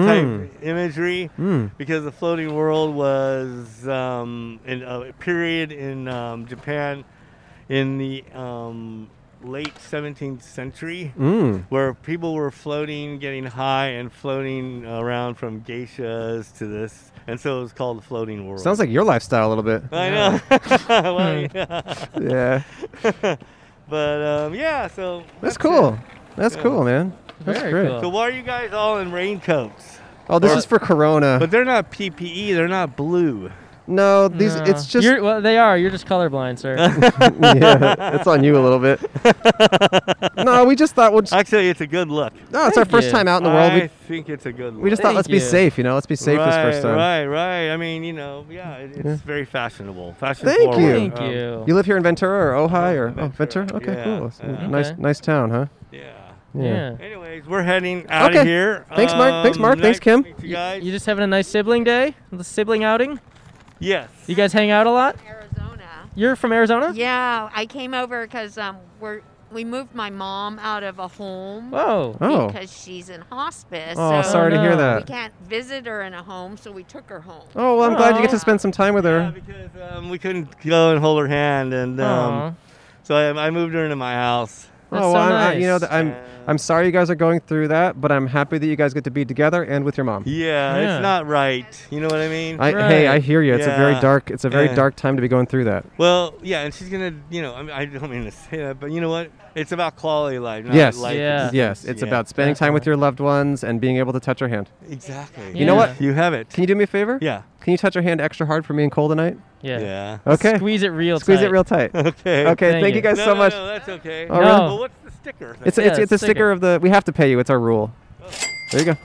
S11: type imagery,
S2: Mm.
S11: because the floating world was um, in a period in um, Japan in the um, late 17th century
S2: Mm.
S11: where people were floating, getting high, and floating around from geishas to this. And so it was called the floating world.
S2: Sounds like your lifestyle a little bit.
S11: I know. Well, yeah. but um, yeah, so
S2: That's cool. That's
S11: Yeah.
S2: cool, man. That's great.
S11: So why are you guys all in raincoats?
S2: Oh, this
S11: Or-
S2: is for Corona.
S11: But they're not PPE. They're not blue.
S2: No, these
S1: No.
S2: it's just
S1: You're, well, they are. You're just colorblind, sir.
S2: yeah, it's on you a little bit. no, we just thought we'll just,
S11: Actually, it's a good look.
S2: No, it's our Thank first you. time out in the world.
S11: I
S2: We-
S11: think it's a good look.
S2: we just thought, Thank let's be you. safe, you know, let's be safe
S11: right,
S2: this first time.
S11: Right, right. I mean, you know, yeah, it, it's very fashionable. Fashion
S2: Thank
S11: forward.
S2: you.
S11: Um,
S2: You live here in Ventura or Ojai or oh, Ventura? Okay,
S11: yeah,
S2: cool. It's a
S11: yeah.
S2: Nice,
S11: Okay.
S2: nice town, huh?
S11: Yeah.
S2: Yeah.
S11: Anyways, we're heading out
S2: Okay.
S11: of here.
S2: Thanks, Mark. Thanks,
S11: Um,
S2: Mark. Thanks,
S11: nice
S2: Kim.
S11: to meet You guys.
S1: You just having a nice sibling day, a sibling outing.
S11: Yes.
S1: You guys hang out a lot. Arizona. You're from Arizona.
S12: Yeah, I came over because um, we're we moved my mom out of a home.
S1: Whoa.
S2: Oh.
S12: Because she's in hospice.
S2: Oh,
S12: so
S2: sorry to hear Oh, no. that.
S12: We can't visit her in a home, so we took her home.
S2: Oh, well, I'm glad you get to spend some time with her.
S11: Um, we couldn't go and hold her hand, and
S2: Aw.
S11: um, so I, I moved her into my house.
S2: oh, well, I'm, I- you know, th- I'm, I'm sorry you guys are going through that, but I'm happy that you guys get to be together and with your mom.
S11: yeah,
S2: Yeah.
S11: it's not right. You know what I mean?
S2: I, Hey, I hear you. It's a very
S11: Yeah.
S2: dark. It's a very
S11: Yeah.
S2: dark time to be going through that.
S11: Well, yeah, and she's gonna, you know, I, mean, I don't mean to say that, but you know what? It's about quality of life. Not
S2: yes,
S11: life
S2: yes.
S11: itself.
S2: It's
S11: Yeah.
S2: about spending time with your loved ones and being able to touch her hand.
S11: Exactly.
S2: You know what?
S11: You have it.
S2: Can you do me a favor?
S11: Yeah.
S2: Can you touch her hand extra hard for me and Cole tonight?
S1: Yeah.
S11: Yeah.
S2: Okay.
S1: Squeeze it real
S2: Squeeze it
S1: tight.
S2: real tight.
S11: Okay.
S2: Okay. Thank, you
S1: Thank you.
S2: guys
S11: No,
S2: so
S11: no,
S2: much.
S11: no, that's okay.
S2: Oh, really?
S1: No.
S11: Well, what's the sticker?
S2: It's,
S1: Yeah,
S2: it's, it's the
S1: sticker.
S2: sticker of the. We have to pay you. It's our rule. There you go.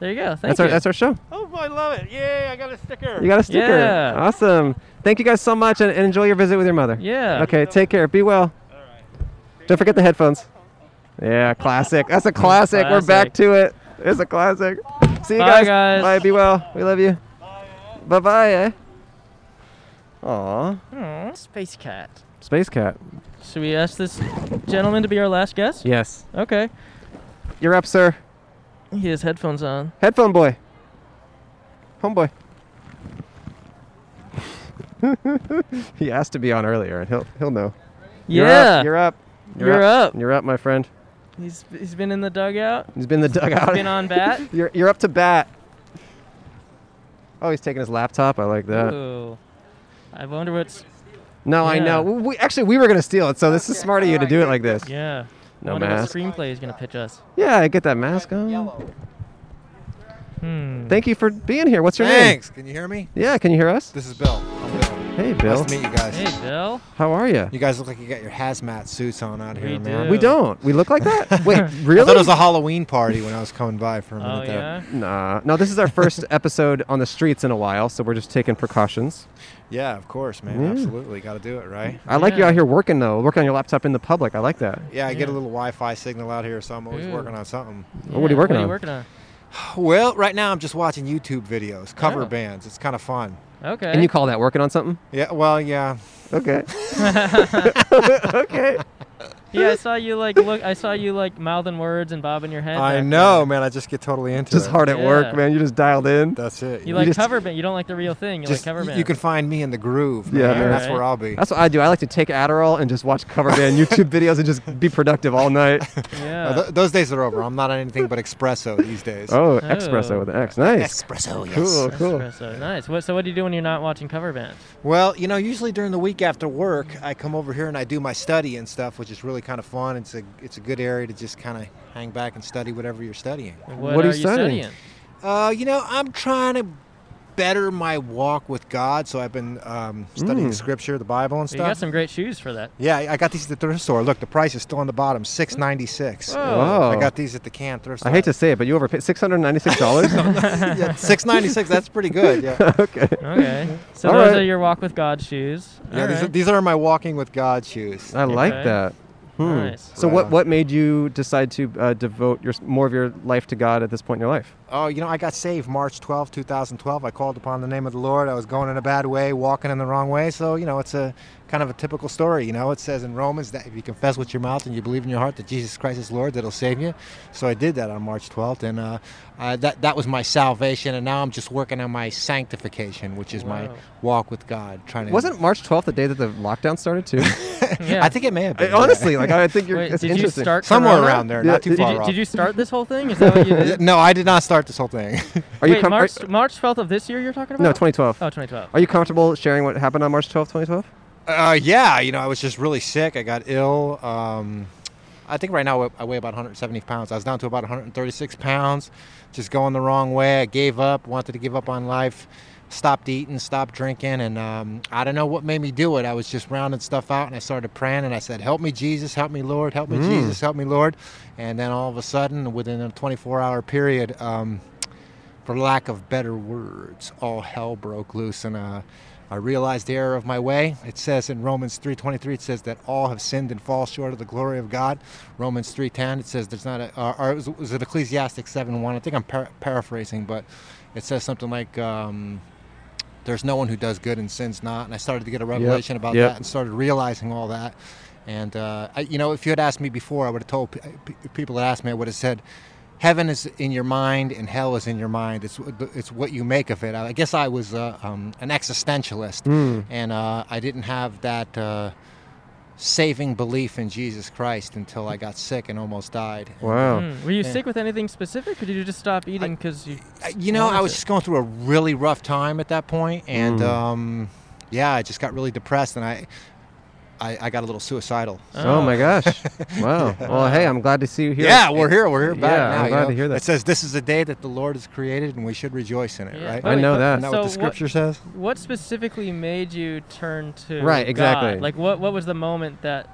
S1: There you go. Thank
S2: that's
S1: you.
S2: our that's our show.
S11: Oh, I love it. Yay, I got a sticker.
S2: You got a sticker.
S1: Yeah.
S2: Awesome. Thank you guys so much, and, and enjoy your visit with your mother.
S1: Yeah.
S2: Okay. Take care. Be well. Don't forget the headphones. Yeah, classic. That's a classic. We're back
S1: Classic.
S2: to it. It's a classic. See you
S1: Bye,
S2: guys.
S1: guys.
S2: Bye. Be well. We love you. Bye bye. Eh? Aw.
S1: Aw, Space Cat.
S2: Space Cat.
S1: Should we ask this gentleman to be our last guest?
S2: Yes.
S1: Okay.
S2: You're up, sir.
S1: He has headphones on.
S2: Headphone boy. Homeboy. he asked to be on earlier, and he'll he'll know.
S1: Yeah.
S2: You're up. You're up.
S1: You're up.
S2: You're up, my friend.
S1: He's he's been in the dugout.
S2: He's been in the dugout.
S1: Been on bat.
S2: you're you're up to bat. Oh, he's taking his laptop. I like that.
S1: Ooh. I wonder what's.
S2: No, I
S1: Yeah.
S2: know. We, actually, we were gonna steal it, so this is smart of you to do it like this.
S1: Yeah.
S2: No
S1: wonder
S2: mask.
S1: What screenplay is gonna pitch us.
S2: Yeah, get that mask on.
S1: Hmm.
S2: Thank you for being here. What's your name?
S13: Thanks. Can you hear me?
S2: Yeah, can you hear us?
S13: This is Bill. I'm Bill.
S2: Hey, Bill.
S13: Nice to meet you guys.
S1: Hey, Bill.
S2: How are you?
S13: You guys look like you got your hazmat suits on out here,
S1: We
S13: man.
S1: do. We
S2: don't. We look like that? Wait,
S13: I
S2: really?
S13: thought it was a Halloween party when I was coming by for a minute
S1: Oh,
S13: there.
S1: yeah?
S2: Nah. No, this is our first episode on the streets in a while, so we're just taking precautions.
S13: Yeah, of course, man.
S2: Yeah.
S13: Absolutely. Got to do it, right?
S2: I like you out here working though, working on your laptop in the public. I like that.
S13: Yeah, I get a little Wi Fi signal out here, so I'm always
S1: Ooh.
S13: working on something.
S2: Well, what are you Yeah, working what are you on? working
S1: on?
S13: Well, right now I'm just watching YouTube videos, cover
S1: Oh.
S13: bands. It's kind of fun.
S1: Okay.
S2: And you call that working on something?
S13: Yeah. Well, yeah.
S2: Okay. okay.
S1: Yeah, I saw you like look. I saw you like mouthing words and bobbing your head.
S13: I
S1: back
S13: know, man. I just get totally into it.
S2: Just hard at
S1: Yeah.
S2: work, man. You just dialed in.
S13: That's
S1: there.
S13: it.
S1: You like
S2: just-
S1: cover band. You don't like the real thing. You
S13: Just-
S1: like cover
S13: y-
S1: band.
S13: you can find me in the groove. Man.
S2: Yeah, man.
S13: That's where I'll be.
S2: That's what I do. I like to take Adderall and just watch cover band YouTube videos and just be productive all night.
S13: Uh, th- those days are over. I'm not on anything but espresso these days.
S2: Oh, espresso with an X. Nice.
S13: Espresso. Oh, Yes.
S2: Cool, cool.
S1: Espresso. Nice. What, so what do you do when you're not watching cover band?
S13: Well, you know, usually during the week after work, I come over here and I do my study and stuff, which is really kind of fun. It's a it's a good area to just kind of hang back and study whatever you're studying.
S1: What What are are you you studying? studying?
S13: Uh, you know, I'm trying to better my walk with God, so I've been um, studying
S2: Mm.
S13: Scripture, the Bible, and
S1: You
S13: stuff.
S1: got some great shoes for that.
S13: Yeah, I I got these at the thrift store. Look, the price is still on the bottom, six ninety six.
S2: Whoa.
S13: I got these at the can thrift store.
S2: I hate to say it, but you overpaid six hundred ninety-six dollars.
S13: yeah, six ninety six. That's pretty good. Yeah.
S2: okay.
S1: Okay. So
S2: All
S1: those
S2: right.
S1: are your walk with God shoes.
S13: Yeah,
S1: All
S13: these, are,
S1: right.
S13: these are my walking with God shoes.
S2: I like
S1: Okay.
S2: that. Hmm.
S1: Nice.
S2: So
S13: Right
S2: what
S13: on.
S2: what made you decide to uh, devote your more of your life to God at this point in your life?
S13: Oh, you know, I got saved March twelfth, two 2012. I called upon the name of the Lord. I was going in a bad way, walking in the wrong way. So, you know, it's a kind of a typical story. You know, it says in Romans that if you confess with your mouth and you believe in your heart that Jesus Christ is Lord, that'll save you. So I did that on March 12th, and uh, I, that, that was my salvation. And now I'm just working on my sanctification, which is my
S2: Wow.
S13: walk with God. Trying to.
S2: Wasn't March twelfth the day that the lockdown started too?
S1: Yeah.
S13: I think it may have been.
S2: I- honestly, like I think you're
S1: Wait,
S2: it's
S1: did you
S2: interesting.
S1: start
S13: Somewhere
S1: Corona?
S13: around there, not too
S1: did
S13: far
S1: you,
S13: off.
S1: Did you start this whole thing? Is that what you did?
S13: no, I did not start this whole thing.
S2: Are you
S1: Wait,
S2: com- are-
S1: March, March 12th of this year you're talking about?
S2: No, 2012.
S1: Oh, 2012.
S2: Are you comfortable sharing what happened on March 12th, 2012?
S13: Uh, yeah, you know, I was just really sick. I got ill. Um, I think right now I weigh about 170 pounds. I was down to about 136 pounds, just going the wrong way. I gave up, wanted to give up on life, stopped eating, stopped drinking, and um, I don't know what made me do it. I was just rounding stuff out, and I started praying, and I said, "Help me, Jesus! Help me, Lord! Help me,
S2: Mm.
S13: Jesus! Help me, Lord!" And then all of a sudden, within a 24-hour period, um, for lack of better words, all hell broke loose, and uh, I realized the error of my way. It says in Romans 3:23, it says that all have sinned and fall short of the glory of God. Romans 3:10, it says there's not a, uh, or it was, was it Ecclesiastes 7:1? I think I'm par- paraphrasing, but it says something like. Um, there's no one who does good and sins not. And I started to get a revelation about
S2: yep.
S13: that and started realizing all that. And, uh, I, you know, if you had asked me before, I would have told pe- pe- people that asked me, I would have said, heaven is in your mind and hell is in your mind. It's, what- it's what you make of it. I guess I was uh, um, an existentialist
S2: Mm.
S13: and uh, I didn't have that uh, saving belief in Jesus Christ until I got sick and almost died.
S2: Wow.
S1: Hmm. Were you
S13: Yeah.
S1: sick with anything specific, or did you just stop eating because you?
S13: I- you know, I
S1: wanted
S13: was
S1: to?
S13: just going through a really rough time at that point, and
S2: Mm.
S13: um, yeah, I just got really depressed, and I, I, I got a little suicidal.
S2: Oh. my gosh! Wow. Well, hey, I'm glad to see you here.
S13: Yeah, we're here. We're here back
S2: yeah,
S13: now.
S2: I'm
S13: you
S2: glad
S13: know?
S2: to hear
S13: It
S2: that.
S13: says this is the day that the Lord has created, and we should rejoice in it.
S1: Yeah.
S13: Right?
S1: But
S2: I
S1: wait,
S2: know
S1: but-
S2: that.
S13: Isn't that what the
S1: so what-
S13: scripture says?
S1: What specifically made you turn to
S2: Right, exactly.
S1: God? Like what what was the moment that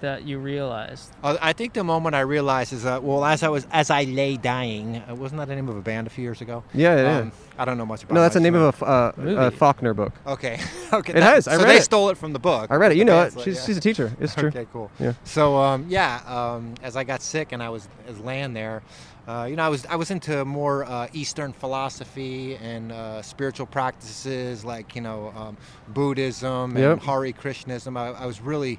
S1: that you realized?
S13: Uh, I think the moment I realized is that well, as I was as I lay dying, uh, wasn't that the name of a band a few years ago?
S2: Yeah, yeah,
S13: Um, I don't know much about.
S2: No, that's the
S13: much,
S2: name
S13: but-
S2: of a f- uh, a
S1: Movie.
S2: Faulkner book.
S13: Okay. okay.
S2: It has. I
S13: so
S2: read
S13: they
S2: it.
S13: stole it from the book.
S2: I read it. You
S13: The
S2: know
S13: band's
S2: it.
S13: like-
S2: She's
S13: yeah.
S2: she's a teacher. It's true.
S13: Okay, cool.
S2: Yeah.
S13: So um, yeah, um, as I got sick and I was, as laying there, uh, you know, I was I was into more uh, Eastern philosophy and uh, spiritual practices like you know um, Buddhism
S2: Yep.
S13: and Hari Krishnaism. I, I was really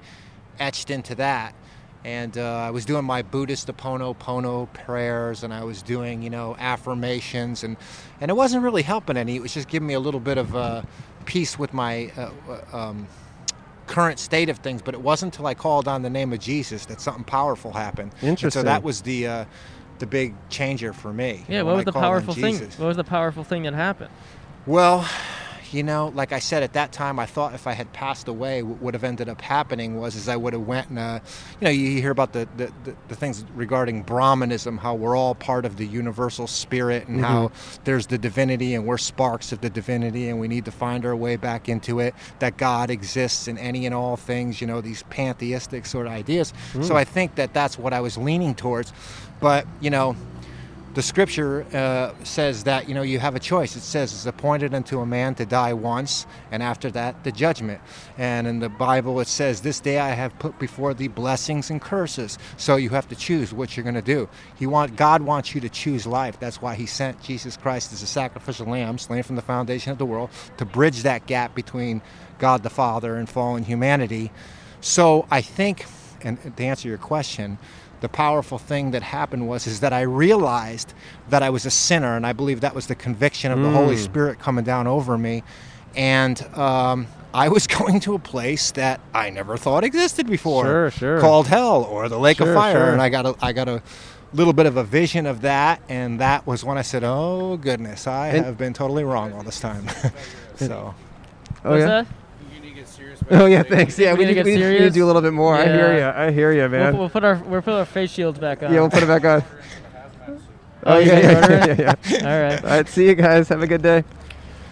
S13: etched into that. And uh, I was doing my Buddhist Oponopono prayers, and I was doing, you know, affirmations, and, and it wasn't really helping any. It was just giving me a little bit of uh, peace with my uh, uh, um, current state of things, but it wasn't until I called on the name of Jesus that something powerful happened. And
S2: Interesting.
S13: so that was the uh, the big changer for me.
S1: Yeah,
S13: When
S1: what
S13: I
S1: was the
S13: called on
S1: powerful thing?
S13: Jesus.
S1: What was the powerful thing that happened?
S13: Well, you know, like I said at that time, I thought if I had passed away, what would have ended up happening was is I would have went and, uh, you know, you hear about the, the, the, the things regarding Brahmanism, how we're all part of the universal spirit and how there's the divinity and we're sparks of the divinity and we need to find our way back into it, that God exists in any and all things, you know, these pantheistic sort of ideas. So
S2: Mm.
S13: I think that that's what I was leaning towards. But, you know, the scripture uh, says that you know you have a choice. It says it's appointed unto a man to die once, and after that the judgment. And in the Bible it says, "This day I have put before thee blessings and curses." So you have to choose what you're going to do. He want God wants you to choose life. That's why He sent Jesus Christ as a sacrificial lamb, slain from the foundation of the world, to bridge that gap between God the Father and fallen humanity. So I think, and to answer your question, the powerful thing that happened was is that I realized that I was a sinner, and I believe that was the conviction of the Holy
S2: Mm.
S13: Spirit coming down over me, and um, I was going to a place that I never thought existed before,
S2: Sure, sure.
S13: called hell or the lake
S2: Sure,
S13: of fire,
S2: sure.
S13: and I got a, I got a little bit of a vision of that, and that was when I said, "Oh goodness, I
S2: And-
S13: have been totally wrong all this time." so,
S2: Oh,
S1: uh,
S2: yeah?
S13: Oh yeah, thanks.
S2: Yeah, we
S1: need to
S2: need,
S1: get
S2: we need- we need to
S1: serious?
S2: do a little bit more. I hear you.
S1: Yeah.
S2: I hear you, man.
S1: We'll, we'll put our we'll put our face shields back on.
S2: yeah, we'll put it back on.
S1: Oh,
S2: Oh
S1: you
S2: yeah,
S1: guys
S2: yeah, yeah,
S1: ordering?
S2: yeah, yeah.
S1: All right.
S2: All right. See you guys. Have a good day.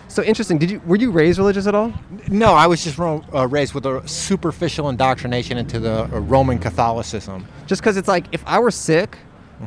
S2: So interesting. Did you were you raised religious at all?
S13: No, I was just ro- uh, raised with a superficial indoctrination into the uh, Roman Catholicism.
S2: Just because it's like if I were sick,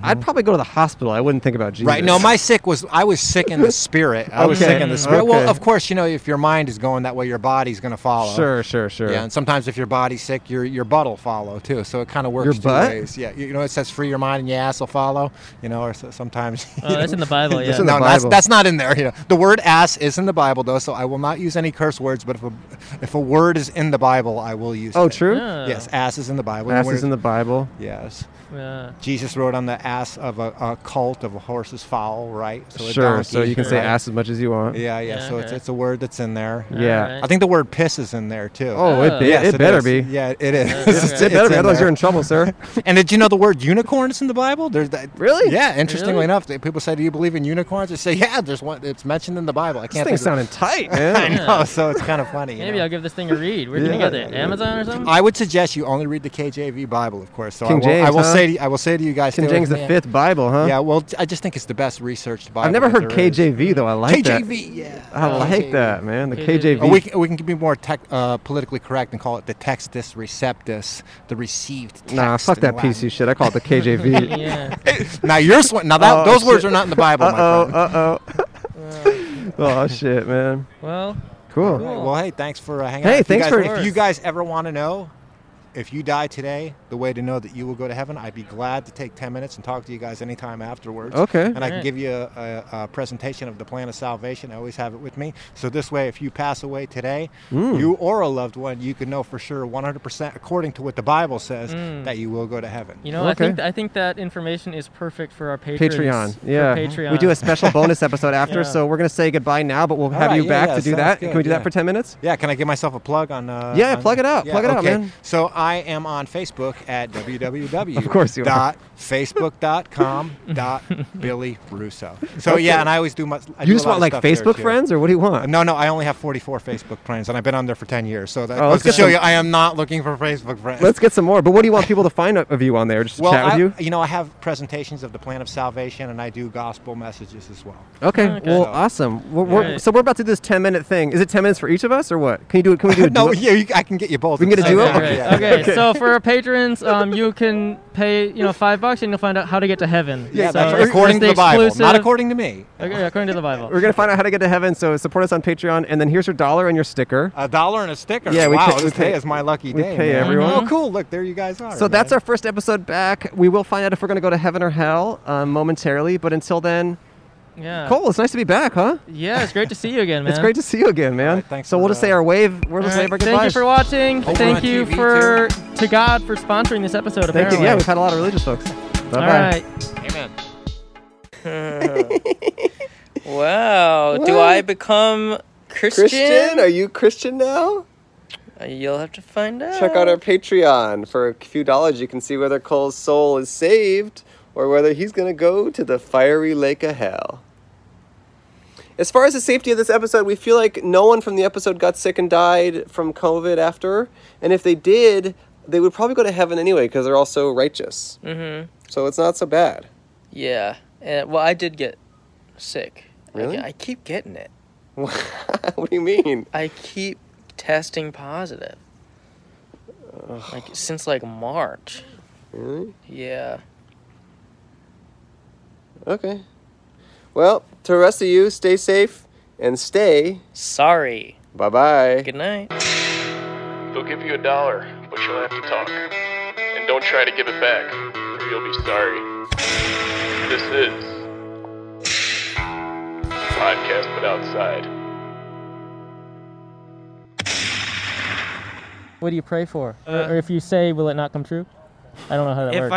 S2: I'd probably go to the hospital. I wouldn't think about Jesus.
S13: Mm-hmm. Right. No, my sick was I was sick in the spirit. I was
S2: Okay.
S13: sick in the spirit.
S2: Okay.
S13: Well, of course, you know, if your mind is going that way, your body's going to follow.
S2: Sure, sure, sure.
S13: Yeah, and sometimes if your body's sick, your your butt will follow too. So it kind of works
S2: Your
S13: two
S2: butt?
S13: ways. Yeah, you you know, it says free your mind and your ass will follow. You know, or so, sometimes.
S1: Oh, that's in the Bible, yeah. That's
S13: no,
S1: in the
S13: that's
S1: Bible.
S13: that's not in there. You know, the word ass is in the Bible though, so I will not use any curse words. But if a if a word is in the Bible, I will use.
S2: Oh,
S13: it.
S2: true? Oh.
S13: Yes, ass is in the Bible.
S2: Ass
S13: word-
S2: is in the Bible.
S13: Yes.
S1: Yeah.
S13: Jesus rode on the ass of a, a cult of a horse's fowl, right? a
S2: Sure, so
S13: donkey,
S2: you can say
S13: right?
S2: ass as much as you want.
S13: Yeah, yeah.
S2: Yeah,
S13: so it's,
S2: okay.
S13: it's a word that's in there.
S2: Yeah. Alright.
S13: I think the word piss is in there too.
S2: Oh, it be- it better
S13: is.
S2: be.
S13: Yeah, it is.
S2: Yeah, okay. It better be,
S13: in
S2: otherwise
S13: there.
S2: you're in trouble, sir.
S13: and did you know the word unicorn is in the Bible? There's that,
S2: Really?
S13: Yeah. Interestingly
S2: Really?
S13: enough, they- people say, "Do you believe in unicorns?" I say, "Yeah." There's one. It's mentioned in the Bible. I
S2: This
S13: can't.
S2: thing's
S13: think
S2: sounding
S13: of-
S2: tight, man.
S13: I know. So it's kind of funny. you
S1: Maybe
S13: know?
S1: I'll give this thing a read. Where can you
S13: Yeah.
S1: get that? Amazon or something?
S13: I would suggest you only read the KJV Bible, of course. So
S2: King
S13: I will, I
S2: James,
S13: will
S2: huh?
S13: say to, I will say to you guys,
S2: King
S13: stay with
S2: James the
S13: me.
S2: fifth Bible, huh?
S13: Yeah. Well, I just think it's the best researched Bible.
S2: I've never
S13: that
S2: heard
S13: there is.
S2: KJV though. I like that.
S13: KJV, yeah.
S2: I like that, man. The KJV.
S13: Or we, can, we can be more tech, uh, politically correct and call it the textus receptus, the received text.
S2: nah, fuck
S13: in
S2: that
S13: Latin.
S2: PC shit. I call it the KJV.
S13: now you're sw- now that,
S2: Oh,
S13: those words
S2: shit.
S13: are not in the Bible.
S2: Uh-oh,
S13: Uh
S2: oh. Oh shit, man.
S1: Well.
S2: Cool.
S13: Well, hey, thanks for uh, hanging out.
S2: Hey,
S13: If you
S2: thanks
S13: guys-
S2: for-
S13: If you guys ever want to know, if you die today, the way to know that you will go to heaven, I'd be glad to take 10 minutes and talk to you guys anytime afterwards.
S2: Okay.
S13: And I can
S2: Alright.
S13: give you a, a, a presentation of the plan of salvation. I always have it with me. So this way, if you pass away today,
S2: Mm.
S13: you or a loved one, you can know for sure 100% according to what the Bible says
S1: Mm.
S13: that you will go to heaven.
S1: You know, I think I think that information is perfect for our patrons.
S2: Patreon.
S1: For
S2: Yeah.
S1: Patreon.
S2: We do a special bonus episode after,
S1: Yeah.
S2: so we're gonna say goodbye now, but we'll
S13: All
S2: have
S13: right,
S2: you
S13: yeah,
S2: back
S13: yeah,
S2: to do
S13: sounds
S2: that.
S13: good,
S2: Can we do
S13: yeah.
S2: that for ten minutes?
S13: Yeah, can I give myself a plug on? Uh,
S2: Yeah,
S13: on-
S2: plug it out,
S13: yeah,
S2: plug it out,
S13: okay.
S2: man.
S13: So I am on Facebook at www.
S2: Of course you are.
S13: dot Facebook.com dot Billy Russo. So
S2: Okay.
S13: yeah, and I always do much. I
S2: You
S13: do
S2: just
S13: a lot
S2: want, like,
S13: of stuff there,
S2: Facebook
S13: too.
S2: friends, or what do you want?
S13: No, no, I only have 44 Facebook friends, and I've been on there for 10 years. So that
S2: Oh,
S13: goes
S2: let's
S13: to
S2: get
S13: show
S2: some-
S13: you, I am not looking for Facebook friends.
S2: Let's get some more. But what do you want people to find of you on there? Just to
S13: well,
S2: chat with
S13: I,
S2: you?
S13: know, I have presentations of the plan of salvation, and I do gospel messages as well.
S2: Okay.
S1: Ah,
S2: Well, awesome. We're, we're, So we're about to do this ten minute thing. Is it ten minutes for each of us, or what? Can you do it? Can we do a
S13: No,
S2: duo?
S13: yeah, you, I can get you both.
S2: We can get a duo.
S1: Okay, great. okay, so for our patrons, um, you can pay you know five bucks and you'll find out how to get to heaven.
S13: Yeah,
S1: So
S13: that's
S1: it's
S13: according to
S1: the
S13: the Bible,
S1: exclusive-
S13: not according to me.
S1: Okay, according to the Bible.
S2: We're gonna find out how to get to heaven. So support us on Patreon, and then here's your dollar and your sticker.
S13: A dollar and a Uh, sticker.
S2: Yeah, we
S13: wow,
S2: pay- we
S13: this day
S2: pay-
S13: is my lucky
S2: we
S13: day.
S2: pay
S13: man.
S2: everyone.
S13: Oh, cool! Look, there you guys are.
S2: So that's our first episode back. We will find out if we're gonna go to heaven or hell um, momentarily. But until then,
S1: Yeah.
S2: Cole, it's nice to be back, huh?
S1: Yeah, it's great to see you again, man.
S2: It's great to see you again, man.
S1: thanks
S2: so
S1: for
S2: we'll just
S1: the-
S2: say our wave. We'll just wave our
S1: Thank you
S2: goodbyes.
S1: for watching.
S2: Over
S1: Thank
S2: on
S1: you
S2: TV
S1: for to God for sponsoring this episode.
S2: Thank
S1: apparently.
S2: you. Yeah, we've had a lot of religious folks. Bye
S1: All
S2: bye.
S1: right.
S13: Amen.
S14: wow. Do
S2: What?
S14: I become Christian? Uh,
S2: Christian? Are you Christian now?
S14: You'll have to find out.
S2: Check out our Patreon. For a few dollars, you can see whether Cole's soul is saved or whether he's going to go to the fiery lake of hell. As far as the safety of this episode, we feel like no one from the episode got sick and died from COVID after. And if they did, they would probably go to heaven anyway because they're all so righteous.
S14: Mm-hmm.
S2: So it's not so bad.
S14: Yeah. And, well, I did get sick. I
S2: Really?
S14: ge- I, keep getting it.
S2: what do you mean?
S14: I keep testing positive. Like since like March.
S2: Really?
S14: Yeah.
S2: Okay. Well, to the rest of you, stay safe and stay
S14: sorry.
S2: Bye bye.
S14: Good night.
S3: They'll give you a dollar, but you'll have to talk. And don't try to give it back, or you'll be sorry. This is Podcast But Outside.
S1: What do you pray for? or if you say, will it not come true? I don't know how that
S8: Uh, if
S1: works.
S8: I